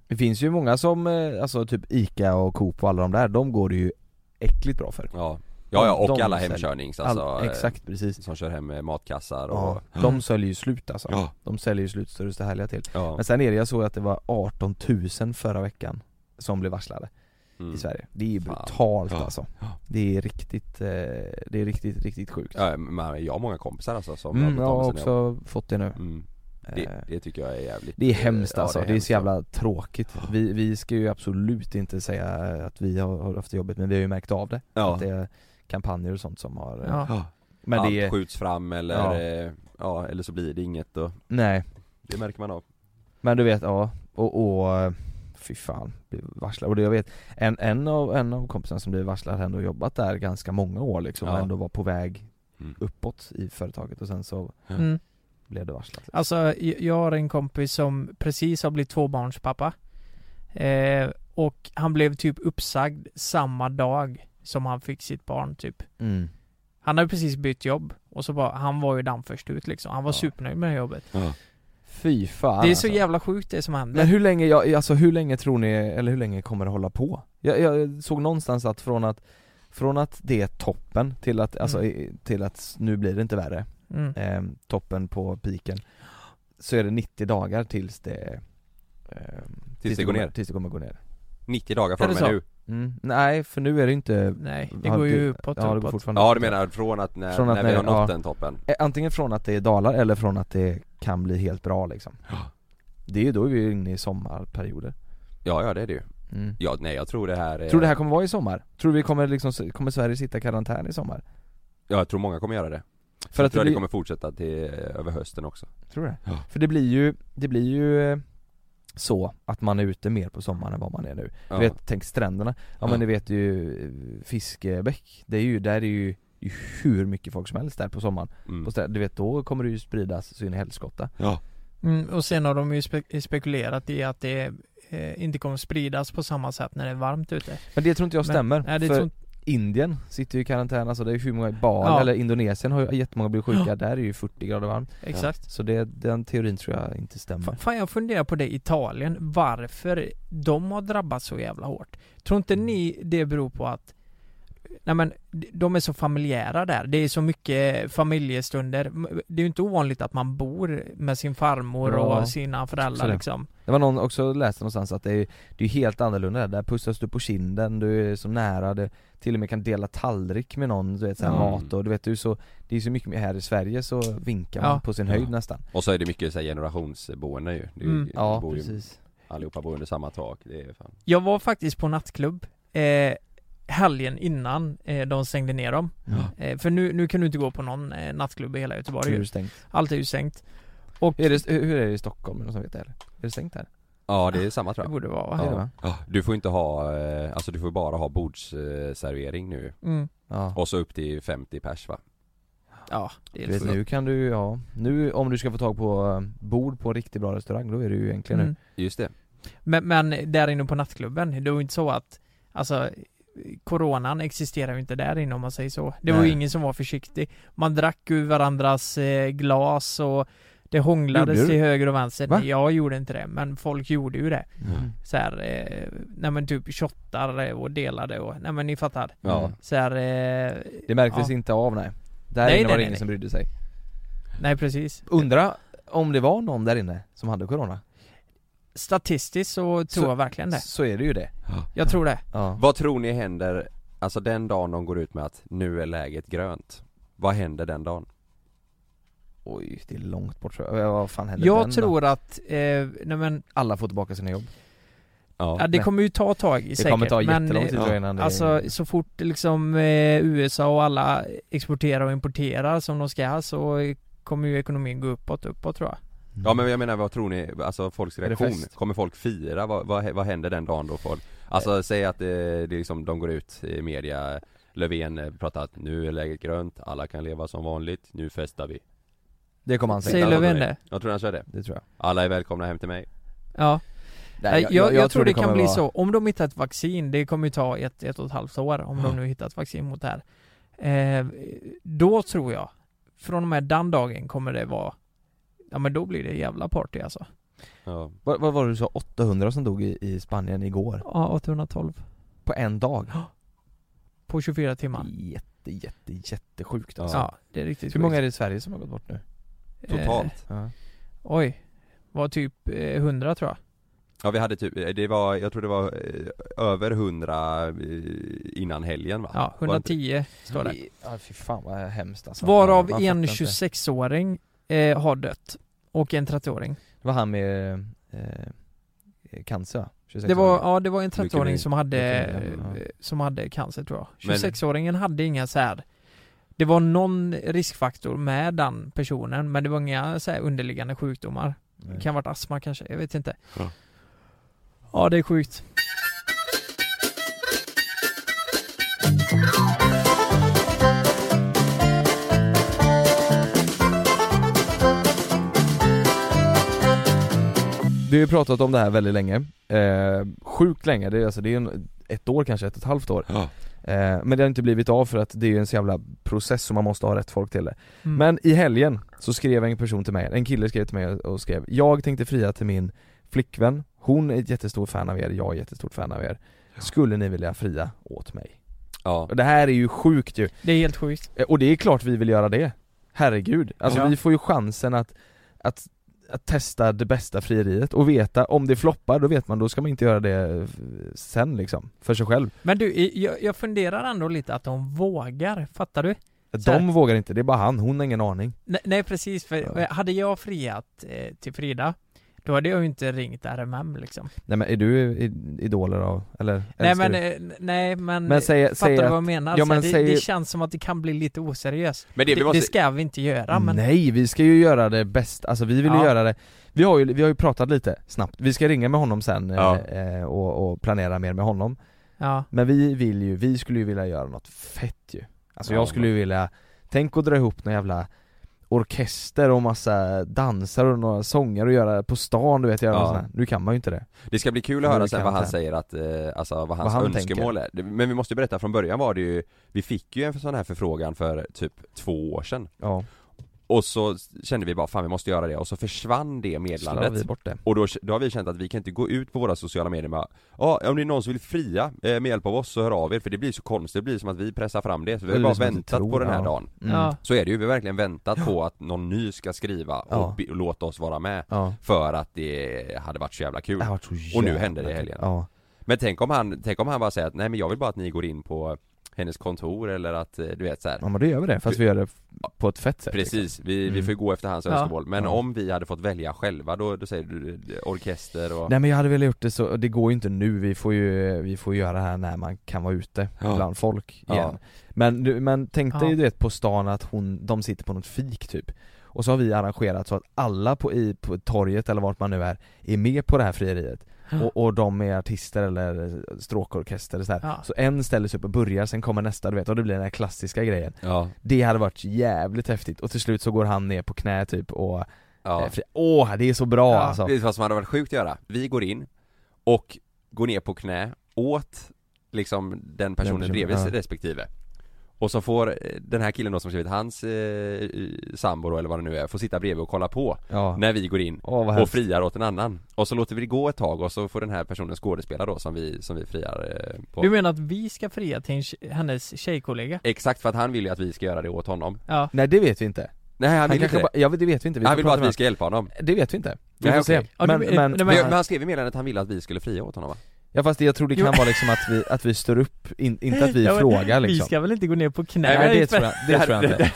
Speaker 2: Det finns ju många som, eh, alltså typ ICA och Coop och alla de där, de går det ju äckligt bra för.
Speaker 3: ja Ja ja, och
Speaker 2: De
Speaker 3: alla
Speaker 2: säljer-
Speaker 3: hemkörnings alltså,
Speaker 2: All,
Speaker 3: eh,
Speaker 2: exakt, precis.
Speaker 3: Som kör hem eh, matkassar och
Speaker 2: Ja, de säljer ju slut alltså.
Speaker 3: Ja.
Speaker 2: De säljer ju slut så det står härliga till.
Speaker 3: ja.
Speaker 2: Men sen är det, jag såg att det var 18 000 förra veckan som blev varslade
Speaker 3: Mm.
Speaker 2: i Sverige. Det är
Speaker 3: Fan.
Speaker 2: brutalt
Speaker 3: Ja.
Speaker 2: alltså.
Speaker 3: Ja.
Speaker 2: Det är riktigt, eh, det är riktigt, riktigt sjukt.
Speaker 3: Ja, men jag har många kompisar alltså som har
Speaker 2: Mm, jag
Speaker 3: blivit av
Speaker 2: har
Speaker 3: med sina jobb.
Speaker 2: också fått det nu.
Speaker 3: mm.
Speaker 2: Eh,
Speaker 3: det, det tycker jag är jävligt eh,
Speaker 2: Det är hemskt
Speaker 3: Ja,
Speaker 2: alltså, det är,
Speaker 3: hemskt,
Speaker 2: så jävla tråkigt.
Speaker 3: Ja.
Speaker 2: Vi, vi ska ju absolut inte säga att vi har har haft det jobbigt men vi har ju märkt av det.
Speaker 3: ja.
Speaker 2: Att det är kampanjer och sånt som har... eh,
Speaker 4: Ja.
Speaker 2: Men
Speaker 3: Allt
Speaker 2: det är...
Speaker 3: skjuts fram eller,
Speaker 2: Ja.
Speaker 3: ja. ja eller så blir det inget och
Speaker 2: Nej.
Speaker 3: det märker man av
Speaker 2: Men du vet, ja. Och, och eh, fy fan, blir varslad. Och det jag vet, en, en, av, en av kompisarna som blev varslad hade ändå jobbat där ganska många år liksom och
Speaker 3: Ja.
Speaker 2: ändå var på väg
Speaker 3: Mm.
Speaker 2: uppåt i företaget och sen så
Speaker 4: Mm.
Speaker 2: blev det varslat.
Speaker 4: Alltså, jag- jag har en kompis som precis har blivit tvåbarnspappa. Eh, och han blev typ uppsagd samma dag som han fick sitt barn typ.
Speaker 2: Mm.
Speaker 4: Han hade precis bytt jobb och så bara, han var ju den först ut liksom. Han var
Speaker 2: Ja.
Speaker 4: supernöjd med det jobbet.
Speaker 2: Fy fan
Speaker 4: det är så
Speaker 2: alltså.
Speaker 4: jävla sjukt det som händer.
Speaker 2: Men hur länge, jag, alltså hur länge tror ni, eller hur länge kommer det hålla på? Jag, jag såg någonstans att från att Från att det är toppen till att, alltså,
Speaker 4: Mm.
Speaker 2: i- till att nu blir det inte värre,
Speaker 4: Mm.
Speaker 2: eh, toppen på piken Så är det 90 dagar tills det eh,
Speaker 3: Tills det går
Speaker 2: kommer,
Speaker 3: ner
Speaker 2: Tills det kommer gå ner
Speaker 3: 90 dagar från
Speaker 4: Är
Speaker 3: och
Speaker 4: det
Speaker 3: med
Speaker 4: så?
Speaker 3: nu
Speaker 2: mm. Nej för nu är det inte
Speaker 4: Nej, det
Speaker 2: har
Speaker 4: går ju
Speaker 2: det-
Speaker 4: uppåt
Speaker 2: ja, det går
Speaker 4: uppåt.
Speaker 2: fortfarande
Speaker 3: Ja du
Speaker 2: uppåt.
Speaker 3: menar från att när,
Speaker 2: Från att
Speaker 3: när
Speaker 2: när-
Speaker 3: vi har nått
Speaker 2: ja.
Speaker 3: den toppen?
Speaker 2: Eh, Antingen från att det dalar eller från att det kan bli helt bra liksom Det är ju då vi är inne i sommarperioder
Speaker 3: Ja ja det är det ju
Speaker 2: mm.
Speaker 3: Ja nej jag tror det här är,
Speaker 2: Tror du det här kommer vara i sommar? Tror du vi kommer liksom, kommer Sverige sitta i karantän i sommar?
Speaker 3: Ja jag tror många kommer göra det
Speaker 2: För
Speaker 3: Jag
Speaker 2: att det
Speaker 3: tror att det
Speaker 2: blir,
Speaker 3: kommer fortsätta till eh, över hösten också
Speaker 2: tror du det?
Speaker 3: Ja.
Speaker 2: För det blir ju, det blir ju eh, så att man är ute mer på sommaren än vad man är nu.
Speaker 3: ja.
Speaker 2: Du vet, tänk stränderna. Ja, men
Speaker 3: Ja.
Speaker 2: ni vet ju eh, Fiskebäck, det är ju, där är ju det är ju hur mycket folk som helst där på sommaren.
Speaker 3: mm.
Speaker 2: På stränder, du vet då kommer det ju spridas så in i helskotta.
Speaker 3: ja.
Speaker 4: Mm, och sen har de ju spe- spekulerat i att det eh, inte kommer spridas på samma sätt när det är varmt ute.
Speaker 2: Men det tror inte jag
Speaker 4: Men-
Speaker 2: stämmer.
Speaker 4: Nej, det
Speaker 2: för
Speaker 4: tror inte-
Speaker 2: Indien sitter ju i karantän, alltså det är ju hur många, Bali
Speaker 4: Ja.
Speaker 2: eller Indonesien har ju jättemånga blivit sjuka, där är det ju 40 grader varmt.
Speaker 4: Exakt.
Speaker 2: Så det, den teorin tror jag inte
Speaker 4: Fa-
Speaker 2: stämmer.
Speaker 4: Fan jag funderar på det, Italien, varför de har drabbats så jävla hårt. Tror inte
Speaker 2: Mm.
Speaker 4: ni det beror på att Nej men, d- de är så familjära där. Det är så mycket familjestunder. M- Det är ju inte ovanligt att man bor med sin farmor
Speaker 2: Ja.
Speaker 4: och sina
Speaker 2: Så
Speaker 4: föräldrar
Speaker 2: det.
Speaker 4: liksom.
Speaker 2: Det var någon också läste någonstans att det är, det är helt annorlunda där, där pussas du på kinden, du är så nära, du till och med kan dela tallrik med någon, du vet såhär
Speaker 4: Mm.
Speaker 2: mat och du vet du är så, det är så mycket mer här i Sverige så vinkar man
Speaker 4: Ja.
Speaker 2: på sin höjd
Speaker 3: Ja.
Speaker 2: nästan
Speaker 3: Och så är det mycket så här, generationsboende ju, det är, ju-
Speaker 4: Mm.
Speaker 3: det
Speaker 2: Ja
Speaker 3: bor ju,
Speaker 2: precis
Speaker 3: Allihopa bor under samma tak, det är fan
Speaker 4: Jag var faktiskt på nattklubb eh, helgen innan eh, de stängde ner dem.
Speaker 2: ja.
Speaker 4: Eh, för nu, nu kan du inte gå på någon eh, nattklubb i hela Göteborg.
Speaker 2: Hur är
Speaker 4: ju.
Speaker 2: det stängt?
Speaker 4: Allt är ju stängt. Och
Speaker 2: Är det, hur är det i Stockholm? Är det Någon som vet det eller? Är det stängt här?
Speaker 3: Ja det är samma tror
Speaker 4: det
Speaker 3: jag
Speaker 4: borde vara va?
Speaker 2: Ja.
Speaker 3: Ja.
Speaker 2: Är det, va?
Speaker 3: Ja, Du får inte ha, eh, alltså du får bara ha bordsservering nu
Speaker 4: Mm.
Speaker 2: ja.
Speaker 3: Och så upp till 50 pers va?
Speaker 4: Ja, det är
Speaker 2: Du vet,
Speaker 4: sjukt.
Speaker 2: nu kan du, ja, nu om du ska få tag på eh, bord på en riktigt bra restaurang då är det ju egentligen
Speaker 4: Mm.
Speaker 2: nu
Speaker 3: Just det
Speaker 4: Men, men där inne på nattklubben, det var ju inte så att, alltså Coronan existerar ju inte där inne om man säger så. Det var ju
Speaker 2: Nej.
Speaker 4: ingen som var försiktig. Man drack ur varandras eh, glas och det
Speaker 2: Gjorde
Speaker 4: hånglades
Speaker 2: du?
Speaker 4: till höger och vänster.
Speaker 2: Va?
Speaker 4: Nej, Jag gjorde inte det, men folk gjorde ju det.
Speaker 2: mm.
Speaker 4: Så här, eh, nej men typ shottar och delade och, nej men ni fattar.
Speaker 3: Ja,
Speaker 4: Så här, eh,
Speaker 2: Det märktes
Speaker 4: ja.
Speaker 2: inte av nej Där
Speaker 4: Nej,
Speaker 2: inne var
Speaker 4: nej,
Speaker 2: det
Speaker 4: nej,
Speaker 2: ingen
Speaker 4: nej.
Speaker 2: som brydde sig
Speaker 4: Nej precis.
Speaker 2: Undra om det var någon där inne som hade corona?
Speaker 4: Statistiskt så tror
Speaker 2: Så-
Speaker 4: jag verkligen det.
Speaker 2: Så är det ju det
Speaker 4: Jag tror det.
Speaker 2: Ja
Speaker 3: Vad tror ni händer, alltså den dagen de går ut med att nu är läget grönt? Vad händer den dagen?
Speaker 2: Oj, det är långt bort tror jag. Vad fan händer den
Speaker 4: Jag
Speaker 2: då?
Speaker 4: tror att, eh, nej men,
Speaker 2: Alla får tillbaka sina jobb.
Speaker 4: ja, det
Speaker 2: nej.
Speaker 4: kommer ju ta tag i
Speaker 2: Det
Speaker 4: säkert,
Speaker 2: kommer ta
Speaker 4: men eh,
Speaker 2: jättelång tid tror jag innan det...
Speaker 4: Alltså så fort liksom eh, USA och alla exporterar och importerar som de ska så eh, kommer ju ekonomin gå uppåt, uppåt tror jag.
Speaker 3: Ja men jag menar vad tror ni, alltså folks
Speaker 2: Är det
Speaker 3: reaktion?
Speaker 2: fest?
Speaker 3: Kommer folk fira? Vad, vad, vad händer den dagen då folk?
Speaker 2: Eh.
Speaker 3: Alltså säg att det, det är liksom, de går ut i media Löfven eh, pratar att nu är läget grönt, alla kan leva som vanligt, nu festar vi
Speaker 2: Det kommer han
Speaker 4: Säger
Speaker 2: säga.
Speaker 3: alla
Speaker 4: Löfven
Speaker 3: som är-
Speaker 4: det?
Speaker 3: Jag tror han kör det,
Speaker 2: Det tror jag.
Speaker 3: alla är välkomna hem till mig
Speaker 4: Ja. Nej, jag, jag, tror det kan
Speaker 2: kommer
Speaker 4: bli
Speaker 2: vara-
Speaker 4: så. Om de hittar ett vaccin, det kommer ju ta ett, ett och ett halvt år om de
Speaker 2: Mm.
Speaker 4: nu hittar ett vaccin mot det här. Eh, då tror jag, från och med den dagen kommer det vara, ja men då blir det jävla party alltså.
Speaker 3: ja.
Speaker 2: Vad, vad var det du sa? 800 som dog i, i Spanien igår?
Speaker 4: Ja, 812
Speaker 2: På en dag?
Speaker 4: på 24 timmar.
Speaker 2: Jätte, jätte, jättesjukt
Speaker 4: Ja,
Speaker 2: alltså.
Speaker 4: det är riktigt
Speaker 2: Hur många är
Speaker 4: sjukt.
Speaker 2: det i Sverige som har gått bort nu?
Speaker 4: Eh,
Speaker 3: Totalt.
Speaker 2: Ja.
Speaker 4: oj, var typ eh, 100 tror jag.
Speaker 3: Ja vi hade typ, eh, det var, jag tror det var eh, över 100 eh, innan helgen va?
Speaker 4: Ja,
Speaker 3: Var det inte-
Speaker 4: 110 står det.
Speaker 2: Ja fy fan vad hemskt alltså.
Speaker 4: Varav
Speaker 2: Man
Speaker 4: en
Speaker 2: fattar inte.
Speaker 4: 26-åring eh, har dött. Och en 30-åring.
Speaker 2: Det var han med eh, eh, cancer va? 26
Speaker 4: Det var,
Speaker 2: år.
Speaker 4: ja, det var en 30-åring som hade,
Speaker 2: Leukemi, ja.
Speaker 4: eh, som hade cancer tror jag.
Speaker 3: Men-
Speaker 4: 26-åringen hade inga så här. Det var någon riskfaktor med den personen men det var inga så här underliggande sjukdomar. Det
Speaker 2: Nej.
Speaker 4: kan ha varit astma kanske, jag vet inte.
Speaker 3: Ja.
Speaker 4: Ja, det är sjukt.
Speaker 2: Vi har ju pratat om det här väldigt länge. Eh, sjukt länge, det är, alltså, det är en, ett år kanske, ett och ett halvt år.
Speaker 3: Ja.
Speaker 2: Eh, men det har inte blivit av för att det är ju en så jävla process som man måste ha rätt folk till det.
Speaker 4: Mm.
Speaker 2: Men i helgen så skrev en person till mig, en kille skrev till mig och skrev Jag tänkte fria till min flickvän, hon är ett jättestort fan av er, jag är jättestort fan av er Skulle ni vilja fria åt mig?
Speaker 3: ja.
Speaker 2: Och det här är ju sjukt ju,
Speaker 4: Det är helt sjukt.
Speaker 2: Eh, och det är klart vi vill göra det Herregud, alltså
Speaker 4: Ja.
Speaker 2: vi får ju chansen att, att, att testa det bästa frieriet och veta om det floppar, då vet man, då ska man inte göra det eh, sen liksom, för sig själv
Speaker 4: Men du, i- jag, jag funderar ändå lite att de vågar, fattar du? Så här.
Speaker 2: De vågar inte, det är bara han, hon har ingen aning
Speaker 4: Nej, nej precis, för
Speaker 2: Ja.
Speaker 4: hade jag friat eh, till Frida, då hade jag ju inte ringt RMM liksom.
Speaker 2: Nej men är du i- idoler av, eller?
Speaker 4: Nej
Speaker 2: älskar
Speaker 4: men,
Speaker 2: du?
Speaker 4: eh, nej men,
Speaker 2: men säg,
Speaker 4: fattar
Speaker 2: säg
Speaker 4: du
Speaker 2: att
Speaker 4: vad jag menar?
Speaker 2: ja,
Speaker 4: Så här,
Speaker 2: men
Speaker 4: det,
Speaker 2: säg-
Speaker 4: det känns som att det kan bli lite oseriöst.
Speaker 3: Men det,
Speaker 4: Det,
Speaker 3: vi måste,
Speaker 4: det ska vi inte göra men...
Speaker 2: Nej, vi ska ju göra det bäst, alltså vi vill ju
Speaker 4: Ja.
Speaker 2: göra det vi har, ju, vi har ju pratat lite snabbt, vi ska ringa med honom sen eh,
Speaker 3: Ja.
Speaker 2: eh, och, och planera mer med honom
Speaker 4: Ja.
Speaker 2: Men vi vill ju, vi skulle ju vilja göra något fett ju Alltså
Speaker 3: Ja,
Speaker 2: jag skulle ju vilja, tänk att dra ihop någon jävla orkester och massa dansar och några sånger och göra på stan du vet, göra
Speaker 3: Ja.
Speaker 2: ja. sån här. Nu kan man ju inte det
Speaker 3: det ska bli kul att
Speaker 2: Men
Speaker 3: höra
Speaker 2: det
Speaker 3: sen
Speaker 2: kan
Speaker 3: vad han
Speaker 2: inte.
Speaker 3: säger att, eh, alltså vad hans
Speaker 2: Vad han
Speaker 3: önskemål är Det- Men vi måste ju berätta, från början var det ju, vi fick ju en sån här förfrågan för typ två år sedan
Speaker 2: Ja,
Speaker 3: Och så kände vi bara fan vi måste göra det och så försvann det
Speaker 2: slår vi
Speaker 3: meddelandet
Speaker 2: bort det
Speaker 3: Och då, då har vi känt att vi kan inte gå ut på våra sociala medier med Ja om det är någon som vill fria eh, med hjälp av oss så hör av er för det blir så konstigt, det blir som att vi pressar fram det så vi
Speaker 2: Det
Speaker 3: har
Speaker 2: blir
Speaker 3: bara
Speaker 2: som att vi
Speaker 3: väntat på
Speaker 2: tror,
Speaker 3: den här
Speaker 2: ja.
Speaker 3: dagen
Speaker 2: Mm.
Speaker 4: ja.
Speaker 3: Så är det ju, vi har verkligen väntat på att någon ny ska skriva och,
Speaker 2: Ja.
Speaker 3: be, och låta oss vara med
Speaker 2: Ja,
Speaker 3: För att det hade varit så jävla kul
Speaker 2: det har varit så
Speaker 3: Och nu
Speaker 2: jävla
Speaker 3: hände det i
Speaker 2: kul.
Speaker 3: helgen.
Speaker 2: Ja,
Speaker 3: Men tänk om han, tänk om han bara säger att nej men jag vill bara att ni går in på hennes kontor eller att, eh, du vet så här.
Speaker 2: ja men då gör vi det, fast vi gör det på ett fett sätt liksom.
Speaker 3: Precis, vi, vi
Speaker 2: Mm.
Speaker 3: får ju gå efter hans
Speaker 4: Ja.
Speaker 3: önskemål. Men
Speaker 2: Ja.
Speaker 3: om vi hade fått välja själva, då, då säger du eh, orkester och...
Speaker 2: Nej men jag hade velat gjort det så, det går ju inte nu, vi får ju, vi får göra det här när man kan vara ute
Speaker 3: Ja.
Speaker 2: bland folk
Speaker 3: Ja.
Speaker 2: igen Men, du- men tänk dig
Speaker 4: Ja.
Speaker 2: du vet på stan att hon, de sitter på något fik typ Och så har vi arrangerat så att alla på, i, på torget eller vart man nu är, är med på det här frieriet och, och de är artister eller stråkorkester så, här.
Speaker 4: Ja.
Speaker 2: så en ställer sig upp och börjar, sen kommer nästa du vet, och det blir den här klassiska grejen
Speaker 3: Ja,
Speaker 2: Det hade varit jävligt häftigt, och till slut så går han ner på knä typ och,
Speaker 3: ja.
Speaker 2: eh, fri- åh det är så bra
Speaker 4: Ja.
Speaker 2: alltså
Speaker 3: Det är vad som hade varit sjukt att göra. Vi går in och går ner på knä åt liksom den personen
Speaker 2: personen,
Speaker 3: bredvid
Speaker 2: ja.
Speaker 3: respektive. Och så får eh, den här killen då som skrivit hans eh, sambo då, eller vad det nu är, får sitta bredvid och kolla på
Speaker 2: Ja,
Speaker 3: när vi går in
Speaker 2: åh vad
Speaker 3: och
Speaker 2: häftigt
Speaker 3: friar åt en annan. Och så låter vi det gå ett tag och så får den här personen skådespela då som vi, som vi friar eh, på.
Speaker 4: Du menar att vi ska fria till en tje- hennes tjejkollega?
Speaker 3: Exakt för att han vill ju att vi ska göra det åt honom.
Speaker 4: Ja.
Speaker 2: Nej det vet vi inte
Speaker 3: Nej han,
Speaker 2: Han,
Speaker 3: vill
Speaker 2: kanske
Speaker 3: inte det.
Speaker 2: bara, ja det vet vi inte, vi
Speaker 3: Han
Speaker 2: får
Speaker 3: vill bara
Speaker 2: prata
Speaker 3: att vi
Speaker 2: med
Speaker 3: ska hjälpa honom.
Speaker 2: honom. Det vet vi inte, vi
Speaker 3: Nej,
Speaker 2: får
Speaker 3: okej.
Speaker 2: se
Speaker 4: Ja, du-
Speaker 2: men,
Speaker 4: eh,
Speaker 2: men,
Speaker 4: nej,
Speaker 3: Men,
Speaker 4: men-
Speaker 3: men han skrev i meddelandet att han ville att vi skulle fria åt honom va?
Speaker 2: Ja fast jag tror det kan
Speaker 4: Jo.
Speaker 2: vara liksom att vi, att vi står upp, in, inte att vi
Speaker 4: *laughs* Ja, men
Speaker 2: frågar
Speaker 4: Vi
Speaker 2: liksom
Speaker 4: ska väl inte gå ner på knä?
Speaker 2: Nej men det tror jag, det tror jag
Speaker 4: *laughs*
Speaker 2: inte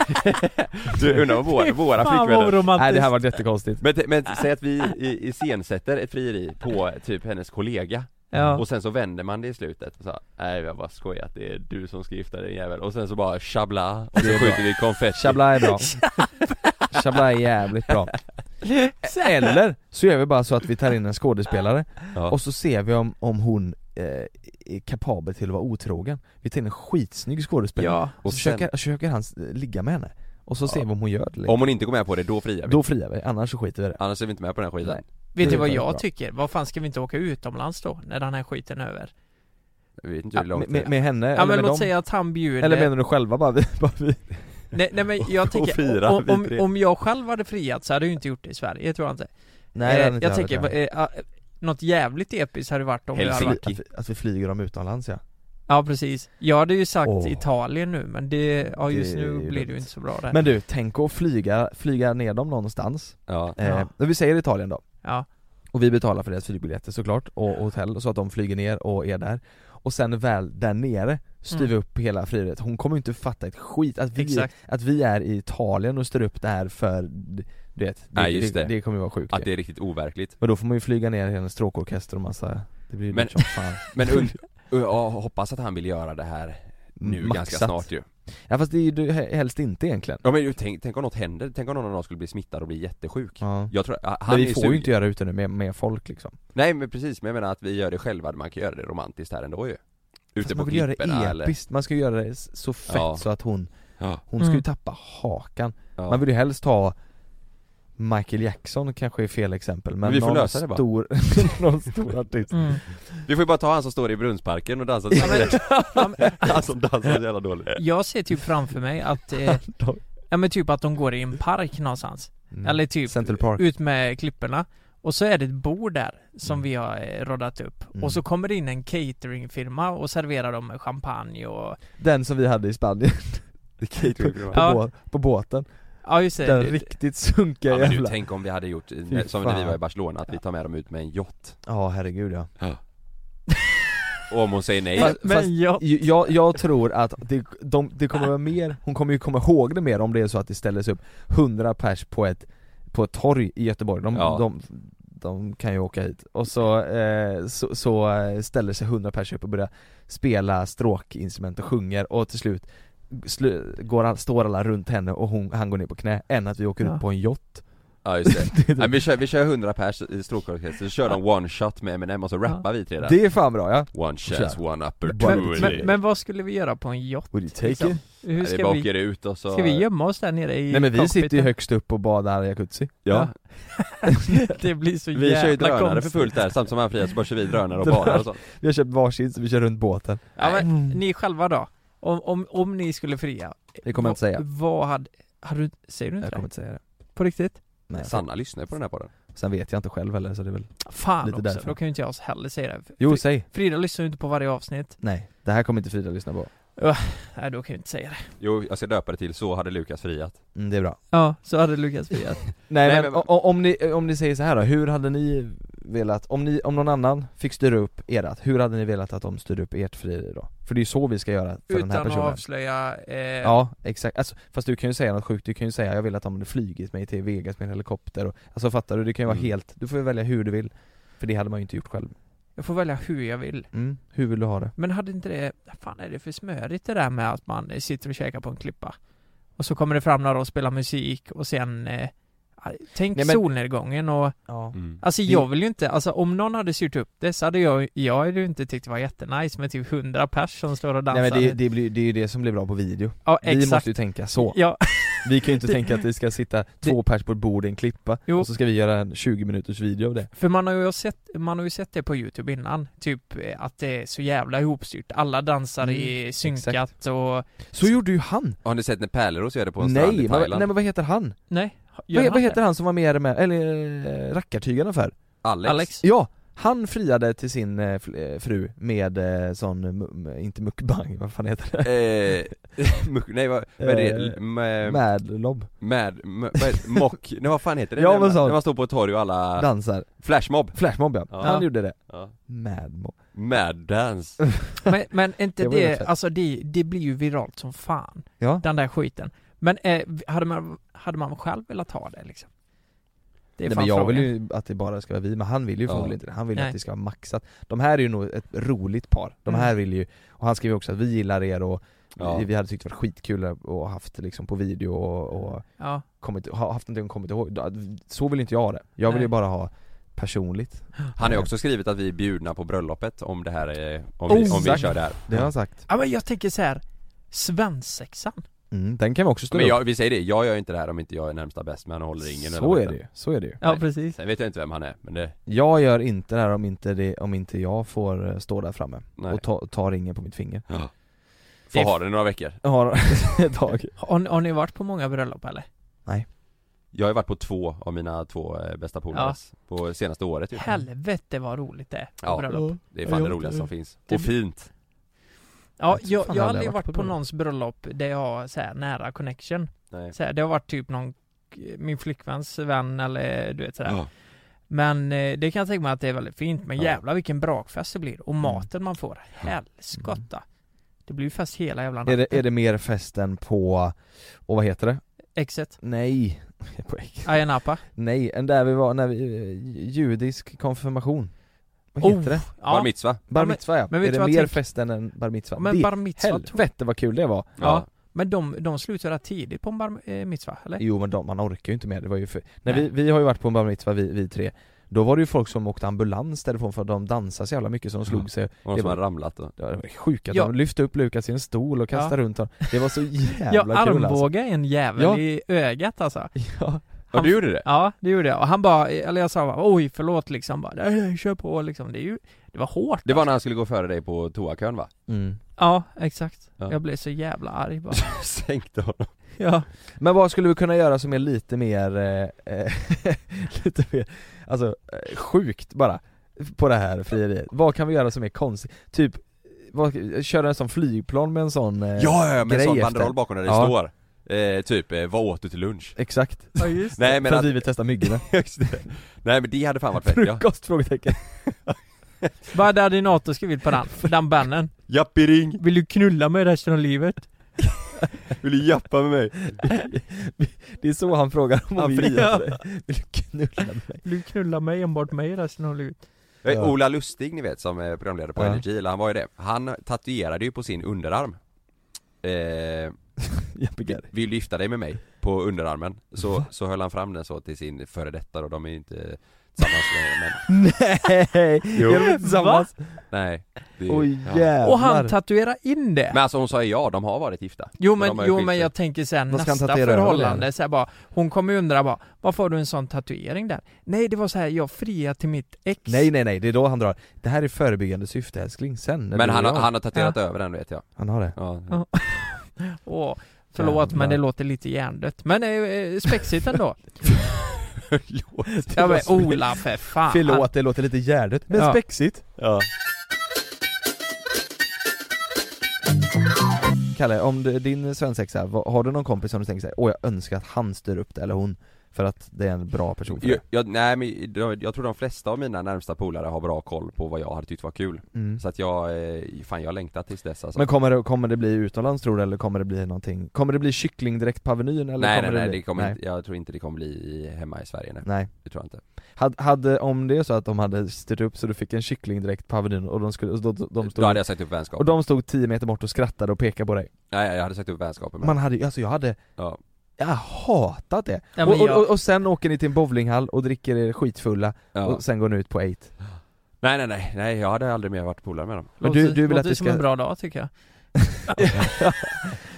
Speaker 3: *laughs* Du undrar om våra, våra flickvänner
Speaker 2: Nej det här
Speaker 4: var...
Speaker 2: var jättekonstigt
Speaker 3: Men, t- men säg att vi
Speaker 2: *laughs*
Speaker 3: i- iscensätter ett frieri på typ hennes kollega
Speaker 4: Ja.
Speaker 3: och sen så vänder man det i slutet och så här, nej jag bara skojat, det är du som ska gifta dig jävel och sen så bara chabla och så
Speaker 2: Det är bra.
Speaker 3: skjuter vi konfetti
Speaker 2: Chabla är
Speaker 4: *laughs*
Speaker 2: bra Chabla är jävligt bra Eller så gör vi bara så att vi tar in en skådespelare
Speaker 3: Ja.
Speaker 2: och så ser vi om, om hon eh, är kapabel till att vara otrogen Vi tar in en skitsnygg skådespelare
Speaker 4: ja.
Speaker 2: och
Speaker 3: Och
Speaker 2: så
Speaker 3: sen-
Speaker 2: försöker, försöker han s- ligga med henne Och så
Speaker 3: Ja.
Speaker 2: ser vi om hon gör det liksom.
Speaker 3: Om hon inte går med på det, då friar vi
Speaker 2: Då friar vi, annars så skiter vi i det
Speaker 3: Annars är vi inte med på den här skiten
Speaker 2: Nej.
Speaker 4: *laughs* Vet
Speaker 2: Det
Speaker 4: du
Speaker 2: är
Speaker 4: vad
Speaker 2: väldigt
Speaker 4: jag
Speaker 2: bra.
Speaker 4: tycker? Vad fan ska vi inte åka utomlands då? När den här skiten är över?
Speaker 3: Vi vet inte hur
Speaker 2: Ja,
Speaker 3: lång
Speaker 2: med,
Speaker 3: tid
Speaker 2: med, med henne,
Speaker 4: Ja
Speaker 2: eller
Speaker 4: men
Speaker 2: med
Speaker 4: låt
Speaker 2: dem?
Speaker 4: säga att han bjuder...
Speaker 2: Eller menar du själva bara, *laughs* vi, bara vi?
Speaker 4: nej, nej men
Speaker 2: *laughs*
Speaker 3: och
Speaker 4: jag tänker,
Speaker 3: fira,
Speaker 4: om,
Speaker 3: vi
Speaker 4: om,
Speaker 3: tre.
Speaker 4: om jag själv hade friat så hade jag ju inte gjort det i Sverige, tror jag inte
Speaker 2: Nej, det
Speaker 4: Eh,
Speaker 2: hade inte
Speaker 4: Jag
Speaker 2: hade
Speaker 4: tänker,
Speaker 2: varit.
Speaker 4: eh, ah, något jävligt episkt hade det varit om det hade varit
Speaker 3: Helsinki.
Speaker 2: att, vi, att vi flyger dem utomlands ja
Speaker 4: Ja precis, jag hade ju sagt
Speaker 2: Åh.
Speaker 4: Italien nu men det, ja just
Speaker 2: Det är
Speaker 4: nu
Speaker 2: ju
Speaker 4: blir det
Speaker 2: dumt.
Speaker 4: ju inte så bra där
Speaker 2: Men du, tänk att flyga, flyga ner dem någonstans
Speaker 3: Ja,
Speaker 2: eh,
Speaker 4: Ja.
Speaker 2: när Vi säger Italien då
Speaker 4: Ja,
Speaker 2: Och vi betalar för deras flygbiljetter såklart, och och hotell, så att de flyger ner och är där Och sen väl där nere, styr vi
Speaker 4: Mm.
Speaker 2: upp hela frieriet Hon kommer ju inte fatta ett skit att vi,
Speaker 4: exakt
Speaker 2: att vi är i Italien och styr upp det här för, du vet Det,
Speaker 3: Nej, just
Speaker 2: det.
Speaker 3: det.
Speaker 2: det kommer ju vara sjukt
Speaker 3: att
Speaker 2: det...
Speaker 3: det är riktigt overkligt
Speaker 2: Men då får man ju flyga ner hela en stråkorkester och massa Det blir ju
Speaker 3: Men-
Speaker 2: dyrt som fan
Speaker 3: *laughs* Men und- jag hoppas att han vill göra det här nu ganska
Speaker 2: Maxat.
Speaker 3: snart ju
Speaker 2: Ja fast det är ju du- helst inte egentligen
Speaker 3: Ja men ju, tänk, tänk om något händer, tänk om någon av dem skulle bli smittad och bli jättesjuk
Speaker 2: ja.
Speaker 3: Jag tror, han
Speaker 2: Men
Speaker 3: är
Speaker 2: vi får ju
Speaker 3: sugen.
Speaker 2: inte göra det ute nu med, med folk liksom
Speaker 3: Nej men precis, men jag menar att vi gör det själva, man kan göra det romantiskt här ändå ju Ute
Speaker 2: Fast
Speaker 3: på
Speaker 2: man vill göra det
Speaker 3: klipporna eller
Speaker 2: episkt, man ska ju göra det s- så fett
Speaker 3: Ja.
Speaker 2: så att hon,
Speaker 3: Ja.
Speaker 2: hon ska ju
Speaker 4: Mm.
Speaker 2: tappa hakan
Speaker 3: Ja.
Speaker 2: Man vill ju helst ha Michael Jackson kanske är fel exempel men,
Speaker 3: Men vi får
Speaker 2: någon,
Speaker 3: lösa det bara.
Speaker 2: stor, *laughs* någon stor artist
Speaker 4: mm.
Speaker 3: Vi får ju bara ta han som står i Brunnsparken och dansar
Speaker 4: Ja, men- Ja, men
Speaker 3: *laughs* Han som dansar så jävla dåligt
Speaker 4: Jag ser typ framför mig
Speaker 2: *laughs*
Speaker 4: att, eh, ja men typ att de går i en park någonstans
Speaker 2: Mm.
Speaker 4: Eller typ
Speaker 2: Central Park
Speaker 4: ut med klipporna Och så är det ett bord där som
Speaker 2: Mm.
Speaker 4: vi har eh, roddat upp
Speaker 2: Mm.
Speaker 4: Och så kommer det in en cateringfirma och serverar dem med champagne och
Speaker 2: Den som vi hade i Spanien på,
Speaker 4: Ja.
Speaker 2: bå, på båten
Speaker 4: Ja just det,
Speaker 2: Den
Speaker 4: det-
Speaker 2: riktigt sunkiga
Speaker 3: Ja, men du,
Speaker 2: jävla
Speaker 3: tänk om vi hade gjort, eh,
Speaker 2: Fy
Speaker 3: som när vi
Speaker 2: fan.
Speaker 3: var i Barcelona, att vi tar med dem ut med en yacht
Speaker 2: Ja herregud ja
Speaker 3: Och om hon säger nej,
Speaker 2: Fast-
Speaker 4: Men jag,
Speaker 2: jag, jag tror att det, de, det kommer vara mer, hon kommer ju komma ihåg det mer om det är så att det ställs upp 100 pers på ett, på ett torg i Göteborg, de,
Speaker 3: Ja.
Speaker 2: de, de kan ju åka hit och så, eh, så, så eh, ställer sig 100 pers upp och börjar spela stråkinstrument och sjunger och till slut slu, går, all- står alla runt henne och hon, han går ner på knä, än att vi åker
Speaker 4: Ja.
Speaker 2: ut på en yacht
Speaker 3: ja
Speaker 2: *laughs*
Speaker 3: just det
Speaker 2: det,
Speaker 3: Nej, vi, kör, vi kör 100 pers i stråkorkester, så kör de one shot med Eminem och så rappar vi tre där
Speaker 2: det är fan bra ja!
Speaker 3: One chance, one
Speaker 4: men,
Speaker 3: opportunity
Speaker 4: men, men vad skulle vi göra på en yacht?
Speaker 2: Would you
Speaker 4: liksom? Hur
Speaker 3: Nej, Vi
Speaker 4: ska
Speaker 3: bara
Speaker 4: vi,
Speaker 3: åker ut och så
Speaker 4: ska vi gömma oss där nere i
Speaker 2: Nej men vi sitter ju
Speaker 4: cockpiten?
Speaker 2: högst upp och badar i jacuzzi
Speaker 3: Ja,
Speaker 4: *laughs* Det
Speaker 2: *laughs*
Speaker 4: blir så
Speaker 3: vi
Speaker 4: jävla
Speaker 3: kör ju drönare för
Speaker 4: konstigt.
Speaker 3: fullt där, samtidigt som han friar så bara kör vi drönare och
Speaker 2: Drönare.
Speaker 3: badar och så
Speaker 2: Vi har köpt varsin så vi kör runt båten
Speaker 4: Ja, men, Ni själva då? Om, om, om ni skulle fria?
Speaker 2: Det kommer jag inte säga.
Speaker 4: Vad hade, hade du, säger du inte
Speaker 2: Jag
Speaker 4: det?
Speaker 2: kommer inte säga det
Speaker 4: På riktigt?
Speaker 2: Nej,
Speaker 3: Sanna lyssnar på den här podden
Speaker 2: Sen vet jag inte själv heller så det är väl
Speaker 4: Fan
Speaker 2: Lite
Speaker 4: också,
Speaker 2: därför.
Speaker 4: då kan ju inte jag heller säga det
Speaker 2: Jo
Speaker 4: Fri-
Speaker 2: säg!
Speaker 4: Frida lyssnar ju inte på varje avsnitt,
Speaker 2: Nej, det här kommer inte Frida lyssna på
Speaker 4: nej då kan jag inte säga det
Speaker 3: Jo, alltså jag ska döpa det till 'Så hade Lukas friat'
Speaker 2: mm, Det är bra
Speaker 4: Ja, så hade Lukas friat
Speaker 2: Nej,
Speaker 3: Nej,
Speaker 2: men,
Speaker 3: men-
Speaker 2: o- o- om, ni, eh, om ni säger så här då, hur hade ni velat, om, ni, om någon annan fick styra upp ert, hur hade ni velat att de styrde upp ert frieri då? För det är ju så vi ska göra för den
Speaker 4: Utan
Speaker 2: här
Speaker 4: att
Speaker 2: personen
Speaker 4: avslöja, eh,
Speaker 2: Ja, exakt. Alltså, fast du kan ju säga något sjukt, du kan ju säga jag vill att de hade flugit mig till Vegas med en helikopter och, Alltså fattar du? Det kan ju vara
Speaker 3: Mm.
Speaker 2: helt, du får ju välja hur du vill För det hade man ju inte gjort själv
Speaker 4: jag får välja hur jag vill
Speaker 2: mm. Hur vill du ha det?
Speaker 4: Men hade inte det, fan är det för smörigt det där med att man eh, sitter och käkar på en klippa? Och så kommer det fram några och spelar musik och sen eh, Tänk
Speaker 2: Nej, men-
Speaker 4: solnedgången och,
Speaker 2: Ja
Speaker 4: alltså
Speaker 2: Det-
Speaker 4: jag vill ju inte, alltså om någon hade styrt upp det så hade jag, jag hade ju inte tyckt det var jättenice med typ 100 pers som står och dansar
Speaker 2: Nej men det, det, blir, det är ju det som blir bra på video
Speaker 4: Ja
Speaker 2: Vi
Speaker 4: exakt
Speaker 2: måste ju tänka så
Speaker 4: Ja,
Speaker 2: Vi kan ju inte tänka att vi ska sitta två pers på ett bord i en klippa
Speaker 4: Jo.
Speaker 2: och så ska vi göra en 20 minuters video av det
Speaker 4: för man har ju sett, man har ju sett det på youtube innan, typ eh, att det är så jävla ihopstyrt, alla dansar
Speaker 2: Mm,
Speaker 4: i synkat och
Speaker 2: Så gjorde ju han!
Speaker 3: Har ni sett när Pärleros gör det på en strand
Speaker 2: Nej,
Speaker 3: i
Speaker 2: man,
Speaker 3: Thailand?
Speaker 2: nej men vad heter han?
Speaker 4: Nej, gör
Speaker 2: Vad,
Speaker 4: han
Speaker 2: vad
Speaker 4: det?
Speaker 2: heter han som var med i det med, eller eh, rackartygarna för?
Speaker 3: Alex?
Speaker 4: Alex?
Speaker 2: Ja! Han friade till sin eh, fl- eh, fru med eh, sån, mu- m- inte mukbang, vad fan heter det?
Speaker 3: Eh, *laughs* muck- nej vad, vad är det?
Speaker 2: Eh,
Speaker 3: Med, med,
Speaker 2: Madlob,
Speaker 3: med, med, mock, nej vad fan heter det?
Speaker 2: Ja,
Speaker 3: när,
Speaker 2: men
Speaker 3: man,
Speaker 2: så-
Speaker 3: när man står på ett torg och alla,
Speaker 2: dansar,
Speaker 3: flashmob!
Speaker 2: flashmob ja.
Speaker 3: Ja.
Speaker 2: Han gjorde det,
Speaker 3: Ja.
Speaker 2: madmob
Speaker 3: Mad dance.
Speaker 4: *laughs* Men, men inte
Speaker 2: Det
Speaker 4: det,
Speaker 2: var ju rätt fett.
Speaker 4: alltså det, det blir ju viralt som fan,
Speaker 2: *laughs* Ja,
Speaker 4: den där skiten. Men eh, hade, man, hade man själv velat ha det liksom? Det är
Speaker 2: Nej,
Speaker 4: fan
Speaker 2: men jag
Speaker 4: frågan.
Speaker 2: vill ju att det bara ska vara vi, men han vill ju
Speaker 3: Ja.
Speaker 2: förmodligen inte det. Han vill ju
Speaker 4: Nej.
Speaker 2: att det ska vara maxat De här är ju nog ett roligt par, de här
Speaker 4: Mm.
Speaker 2: vill ju, och han skriver också att vi gillar er och
Speaker 3: Ja.
Speaker 2: vi, vi hade tyckt det var skitkul att och haft liksom på video och, och
Speaker 4: Ja,
Speaker 2: kommit, ha haft någonting och kommit ihåg Då- Så vill inte jag ha det, jag vill
Speaker 4: Nej.
Speaker 2: ju bara ha personligt
Speaker 3: Han har ju också skrivit att vi är bjudna på bröllopet om det här är, om, vi,
Speaker 2: Oh,
Speaker 3: om vi
Speaker 2: exakt.
Speaker 3: kör det här
Speaker 2: Det har han sagt,
Speaker 4: ja men jag tänker så här. svensexan.
Speaker 2: mm, den kan vi också stå
Speaker 3: Men
Speaker 2: upp
Speaker 3: jag, vi säger det, jag gör inte det här om inte jag är närmsta bäst men håller ingen eller
Speaker 2: Så
Speaker 3: vad
Speaker 2: är det
Speaker 3: heter
Speaker 2: ju, så är det ju
Speaker 4: Ja
Speaker 3: Nej.
Speaker 4: precis.
Speaker 3: Sen vet jag inte vem han är, men det,
Speaker 2: Jag gör inte det här om inte, det, om inte jag får eh, stå där framme
Speaker 3: nej
Speaker 2: och ta, ta ringen på mitt finger
Speaker 3: Får
Speaker 4: Det-
Speaker 3: ha det några veckor
Speaker 2: Jag har *laughs* ett tag
Speaker 4: Har, ni- har ni varit på många bröllop eller?
Speaker 3: Jag har ju varit på två av mina två eh, bästa polares På senaste året
Speaker 2: Typ.
Speaker 3: ju
Speaker 4: Helvete vad roligt det är på
Speaker 3: Ja.
Speaker 4: bröllop.
Speaker 3: Det är fan
Speaker 2: Jag har
Speaker 3: det roligaste
Speaker 2: inte-
Speaker 3: som finns
Speaker 4: Det-
Speaker 3: Och fint!
Speaker 4: Ja,
Speaker 2: Jag tror
Speaker 4: jag,
Speaker 2: fan
Speaker 4: jag har
Speaker 2: aldrig
Speaker 4: aldrig varit på,
Speaker 2: bröllop.
Speaker 4: någons bröllop där jag har så här nära connection.
Speaker 3: Nej.
Speaker 4: Så här, det har varit typ någon, min flickväns vän eller du vet sådär.
Speaker 3: Ja.
Speaker 4: Men eh, det kan jag tänka mig att det är väldigt fint, men
Speaker 3: Ja.
Speaker 4: jävlar vilken brakfest det blir.
Speaker 2: Mm.
Speaker 4: Och maten man får, helskotta. Det blir ju fest hela jävla
Speaker 2: Är
Speaker 4: natten.
Speaker 2: det, är det mer festen på, och vad heter det?
Speaker 4: Exet,
Speaker 2: Nej, *laughs* på ägg.
Speaker 4: Ayia Napa.
Speaker 2: Nej, än där vi var när vi, eh, judisk konfirmation Vad
Speaker 4: Oh,
Speaker 2: heter det?
Speaker 3: Bar
Speaker 4: Ja,
Speaker 3: mitzva!
Speaker 2: *laughs* Bar
Speaker 4: men-
Speaker 2: mitzva ja,
Speaker 4: men vet
Speaker 2: är
Speaker 4: du
Speaker 2: det
Speaker 4: vad
Speaker 2: mer
Speaker 4: jag tänker?
Speaker 2: fest än en bar mitzva?
Speaker 4: men
Speaker 2: det,
Speaker 4: bar mitzva tror jag.
Speaker 2: helvete vad kul det var!
Speaker 4: Ja. Men de, de slutar rätt tidigt på en bar eh, mitzva, eller?
Speaker 2: Jo men de, man orkar ju inte mer, det var ju för... Nej,
Speaker 4: Nej.
Speaker 2: Vi, vi har ju varit på en bar mitzva vi, vi tre Då var det ju folk som åkte ambulans därifrån för att de dansade så jävla mycket så de slog
Speaker 3: Ja.
Speaker 2: sig
Speaker 3: Och någon
Speaker 2: Det
Speaker 3: som
Speaker 2: var-
Speaker 3: har ramlat då.
Speaker 2: Det var sjukt att
Speaker 4: Ja.
Speaker 2: de lyfte upp Lukas i en stol och kastade runt honom Det var så jävla
Speaker 4: Jag
Speaker 2: kul alltså.
Speaker 4: armbågade en jävel
Speaker 2: Ja.
Speaker 4: i ögat alltså.
Speaker 2: Ja,
Speaker 3: Ja
Speaker 4: Han-
Speaker 3: du gjorde det?
Speaker 4: Ja, det gjorde jag. Och han bara, eller jag sa bara, oj förlåt liksom, bara, nej, nej, kör på liksom. Det, är ju, det var hårt. alltså.
Speaker 3: Det var när han skulle gå före dig på
Speaker 2: *laughs*
Speaker 3: toakön va?
Speaker 2: mm.
Speaker 4: Ja, exakt.
Speaker 3: Ja.
Speaker 4: Jag blev så jävla arg bara.
Speaker 3: Sänkte honom
Speaker 4: ja.
Speaker 2: Men vad skulle vi kunna göra som är lite mer, eh, eh, *laughs* lite mer, alltså eh, sjukt bara på det här frieriet? Vad kan vi göra som är konstigt? Typ, vad, köra en sån flygplan med en sån eh,
Speaker 3: Ja, ja, med en
Speaker 2: grej
Speaker 3: sån
Speaker 2: efter.
Speaker 3: banderoll bakom där det
Speaker 2: Ja.
Speaker 3: står eh, Typ, eh, vad åt du till lunch?
Speaker 2: Exakt,
Speaker 4: ja, just
Speaker 3: Nej men
Speaker 2: för att
Speaker 3: att, *laughs*
Speaker 2: vi vill testa myggorna
Speaker 3: just det. Nej men det hade fan varit fett ja
Speaker 2: Frukost? Frågetecken
Speaker 4: Vad hade NATO skrivit på den? Den bannern?
Speaker 3: Jappi ring!
Speaker 4: Vill du knulla mig resten av livet?
Speaker 3: Vill du jappa med mig?
Speaker 2: *laughs* Det är så han frågar om
Speaker 3: Han
Speaker 2: vi vill
Speaker 3: friar.
Speaker 2: Vill du knulla
Speaker 3: *laughs*
Speaker 2: med mig?
Speaker 4: Vill du knulla mig enbart mig resten av livet?
Speaker 3: Eh,
Speaker 2: Ja.
Speaker 3: Ola Lustig ni vet som är programledare på
Speaker 2: Ja.
Speaker 3: Energy, eller han var ju det. Han tatuerade ju på sin underarm eh,
Speaker 2: Jeppe Garry.
Speaker 3: Vill du gifta dig med mig? På underarmen. Så, så höll han fram den så till sin före detta och de är ju inte tillsammans längre men
Speaker 2: *laughs* Nej!
Speaker 3: Jo.
Speaker 2: Gör de inte tillsammans?
Speaker 3: nej. Det,
Speaker 2: Oj
Speaker 3: ja.
Speaker 2: jävlar!
Speaker 4: Och han tatuerar in det!
Speaker 3: Men alltså hon sa ju ja, de har varit gifta.
Speaker 4: jo
Speaker 3: Men de har
Speaker 4: men,
Speaker 3: ju
Speaker 4: jo
Speaker 3: skilt
Speaker 4: men
Speaker 3: sig.
Speaker 4: jag tänker sen
Speaker 2: Vad ska han
Speaker 4: nästa
Speaker 2: tatuera över
Speaker 4: förhållande,
Speaker 2: det?
Speaker 4: så här bara, Hon kommer ju undra bara, varför har du en sån tatuering där? Nej det var så här, jag friade till mitt ex
Speaker 2: Nej nej nej, det är då han drar. Det här är förebyggande syfte älskling, sen när
Speaker 3: Men
Speaker 2: du
Speaker 3: han,
Speaker 2: och
Speaker 3: har-
Speaker 2: jag-
Speaker 3: han har tatuerat över den vet jag.
Speaker 2: han har det
Speaker 3: Ja.
Speaker 4: Ja. Åh, förlåt men det låter lite hjärndött Men eh, eh,
Speaker 2: *laughs*
Speaker 4: spexigt ändå Ja men Ola för fan
Speaker 2: Förlåt, det låter lite hjärndött, men
Speaker 4: Ja.
Speaker 2: spexigt
Speaker 3: ja.
Speaker 2: Kalle, om du, din svensexa, vad- har du någon kompis som du tänker såhär, åh jag önskar att han styr upp det, eller hon, för att det är en bra person för
Speaker 3: Jag,
Speaker 2: det?
Speaker 3: jag, nej men jag, jag tror de flesta av mina närmsta polare har bra koll på vad jag hade tyckt var kul.
Speaker 2: Mm.
Speaker 3: Så att jag, eh, fan jag längtar tills dess alltså.
Speaker 2: Men kommer det, kommer det bli utomlands tror du, eller kommer det bli någonting, kommer det bli kyckling direkt på Avenyn eller
Speaker 3: nej
Speaker 2: kommer
Speaker 3: nej
Speaker 2: det
Speaker 3: nej,
Speaker 2: bli...
Speaker 3: det kommer
Speaker 2: nej.
Speaker 3: Inte, jag tror inte det kommer bli hemma i Sverige nej.
Speaker 2: Nej.
Speaker 3: Det tror jag inte.
Speaker 2: Hade, hade, om det är så att de hade styrt upp så du fick en kyckling direkt på Avenyn och de skulle, och de, de
Speaker 3: Då hade
Speaker 2: stod
Speaker 3: jag sagt upp vänskapen.
Speaker 2: och de stod 10 meter bort och skrattade och pekade på dig
Speaker 3: Nej jag hade sagt upp vänskapen men.
Speaker 2: Man hade ju- alltså jag hade
Speaker 3: Ja.
Speaker 2: Jag hatat det!
Speaker 4: Ja, men
Speaker 2: och,
Speaker 4: jag-
Speaker 2: och, och sen åker ni till en bowlinghall och dricker er skitfulla
Speaker 3: Ja.
Speaker 2: och sen går ni ut på 8
Speaker 3: Nej nej nej, nej jag hade aldrig mer varit polare med dem.
Speaker 2: Men du,
Speaker 4: Låter-
Speaker 2: du vill att
Speaker 4: låter
Speaker 2: vi
Speaker 4: som en
Speaker 2: ska...
Speaker 4: bra dag tycker jag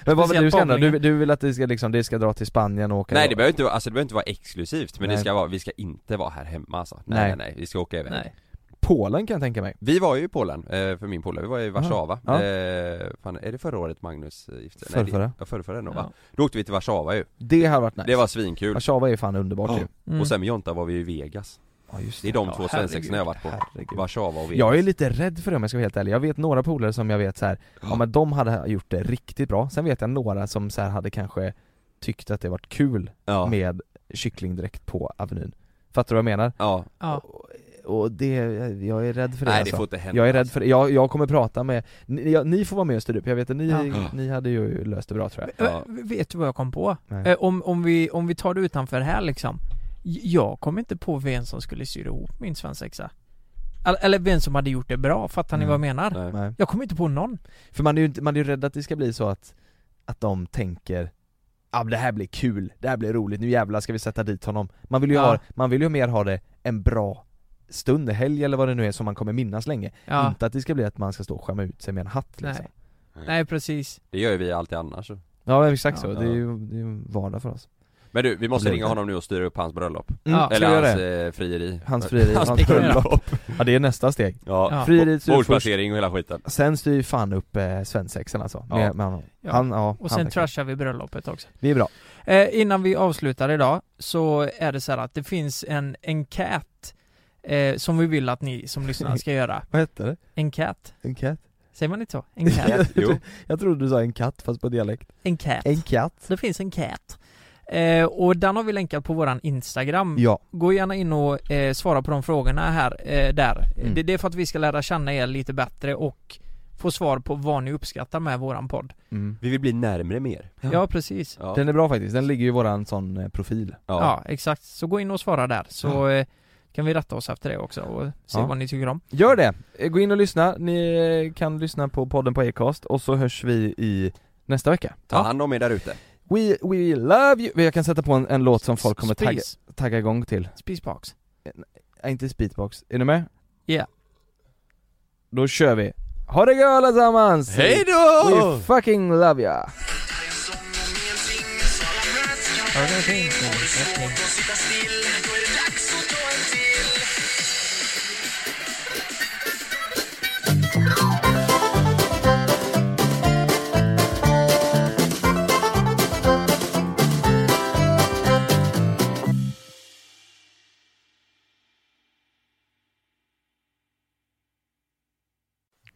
Speaker 2: Men vad vill du
Speaker 4: Speciellt
Speaker 2: ska ändra? Du,
Speaker 4: bowlingen.
Speaker 2: du vill att det ska liksom, det ska dra till Spanien och åka
Speaker 3: Nej det behöver inte, vara- alltså det behöver inte vara exklusivt men det
Speaker 2: Nej.
Speaker 3: ska vara, vi ska inte vara här hemma alltså. Nej
Speaker 2: Nej.
Speaker 3: nej nej, vi ska åka iväg.
Speaker 4: Nej
Speaker 2: Polen kan jag tänka mig
Speaker 3: Vi var ju i Polen, eh, för min polare, vi var i Warszawa.
Speaker 2: Ja.
Speaker 3: Eh, fan, är det förra året Magnus eh, gifte sig? Nej, det-
Speaker 2: Förrförra
Speaker 3: Ja förrförra nog va?
Speaker 4: ja.
Speaker 3: Då åkte vi till Warszawa ju,
Speaker 2: Det har varit nice
Speaker 3: det var svinkul.
Speaker 2: Warszawa är fan underbart
Speaker 3: Ja.
Speaker 2: ju
Speaker 4: Mm.
Speaker 3: Och sen med Jonta var vi i Vegas.
Speaker 2: Ja just
Speaker 3: Det är de
Speaker 4: Ja,
Speaker 3: två svensexorna jag har varit på.
Speaker 2: Herregud.
Speaker 3: Warszawa och Vegas.
Speaker 2: Jag är lite rädd för det om jag ska vara helt ärlig, jag vet några polare som jag vet så här, ja men de hade gjort det riktigt bra, sen vet jag några som så här hade kanske tyckt att det varit kul
Speaker 3: ja.
Speaker 2: med kycklingdräkt på Avenyn Fattar du vad jag menar?
Speaker 3: ja.
Speaker 4: Ja,
Speaker 2: Och- och det, jag är rädd för det
Speaker 3: Nej det
Speaker 2: alltså.
Speaker 3: får inte hända
Speaker 2: Jag är rädd
Speaker 3: alltså.
Speaker 2: för det, jag, jag kommer prata med, ni, jag, ni får vara med och styra upp, jag vet att ni,
Speaker 4: Ja.
Speaker 2: ni hade ju löst det bra tror jag
Speaker 3: Ja.
Speaker 4: Eh, Vet du vad jag kom på?
Speaker 2: Nej.
Speaker 4: Eh, Om, om, vi, om vi tar det utanför här liksom J- Jag kom inte på vem som skulle syra ihop min svensexa Eller- Eller vem som hade gjort det bra, fattar ni
Speaker 2: Mm.
Speaker 4: vad jag menar?
Speaker 3: Nej.
Speaker 2: Nej.
Speaker 4: Jag kom inte på någon
Speaker 2: För man är ju, inte- man är ju rädd att det ska bli så att, att de tänker Ja men det här blir kul, det här blir roligt, nu jävlar ska vi sätta dit honom Man vill ju,
Speaker 4: Ja.
Speaker 2: ha, man vill ju mer ha det en bra stund, helg eller vad det nu är som man kommer minnas länge
Speaker 4: Ja,
Speaker 2: Inte att det ska bli att man ska stå och skämma ut sig med en hatt liksom
Speaker 4: Mm. nej Nej precis
Speaker 3: Det gör ju vi alltid annars
Speaker 2: Ja men exakt så,
Speaker 3: Ja.
Speaker 2: det är ju det är ju vardag för oss
Speaker 3: Men du, vi måste
Speaker 2: Det-
Speaker 3: ringa honom nu och styra upp hans bröllop
Speaker 4: Mm, Ja.
Speaker 3: Eller
Speaker 2: Ska vi göra
Speaker 3: hans
Speaker 2: det?
Speaker 3: eh, frieri
Speaker 2: Hans frieri,
Speaker 3: *laughs*
Speaker 2: hans,
Speaker 4: det kan vi göra.
Speaker 2: bröllop Ja det är nästa steg
Speaker 3: Ja,
Speaker 4: Ja.
Speaker 2: Frieriet styr först,
Speaker 3: bordsplacering och hela skiten
Speaker 2: sen styr ju fan upp eh, svensexan alltså
Speaker 3: Ja.
Speaker 2: med, med honom.
Speaker 4: Ja.
Speaker 2: Han, ja,
Speaker 4: Och
Speaker 2: han
Speaker 4: sen
Speaker 2: verkar-
Speaker 4: trashar vi bröllopet också
Speaker 2: Det är bra,
Speaker 4: Eh, innan vi avslutar idag så är det så här att det finns en enkät eh, som vi vill att ni som lyssnar ska göra.
Speaker 2: vad hette det?
Speaker 4: Enkät?
Speaker 2: En katt?
Speaker 4: Säger man inte så? Enkät?
Speaker 3: *laughs* Jo,
Speaker 2: Jag trodde du sa en katt fast på dialekt
Speaker 4: Enkät.
Speaker 2: En katt?
Speaker 4: Det finns en cat. Eh, och den har vi länkat på våran Instagram.
Speaker 2: Ja,
Speaker 4: Gå gärna in och eh, svara på de frågorna här, eh, där.
Speaker 2: Mm.
Speaker 4: Det, det är för att vi ska lära känna er lite bättre och få svar på vad ni uppskattar med våran podd.
Speaker 3: vi vill bli närmre mer
Speaker 4: Ja, precis.
Speaker 3: Ja,
Speaker 2: Den är bra faktiskt, den ligger ju i våran sån eh, profil
Speaker 4: Ja.
Speaker 3: ja.
Speaker 4: exakt. Så gå in och svara där så
Speaker 2: Ja.
Speaker 4: eh, kan vi rätta oss efter det också och se
Speaker 2: Ja.
Speaker 4: vad ni tycker om.
Speaker 2: Gör det! Eh, Gå in och lyssna, ni eh, kan lyssna på podden på Acast och så hörs vi i nästa vecka
Speaker 3: Ta hand om er där ute
Speaker 2: We, we love you! Jag kan sätta på en, en låt som folk kommer tagga,
Speaker 4: Spis.
Speaker 2: tagga igång till
Speaker 4: Spisbox.
Speaker 2: äh, Inte speedbox, är ni med?
Speaker 4: Ja.
Speaker 2: Då kör vi! Ha det gött allesammans!
Speaker 3: då!
Speaker 2: We fucking love ya!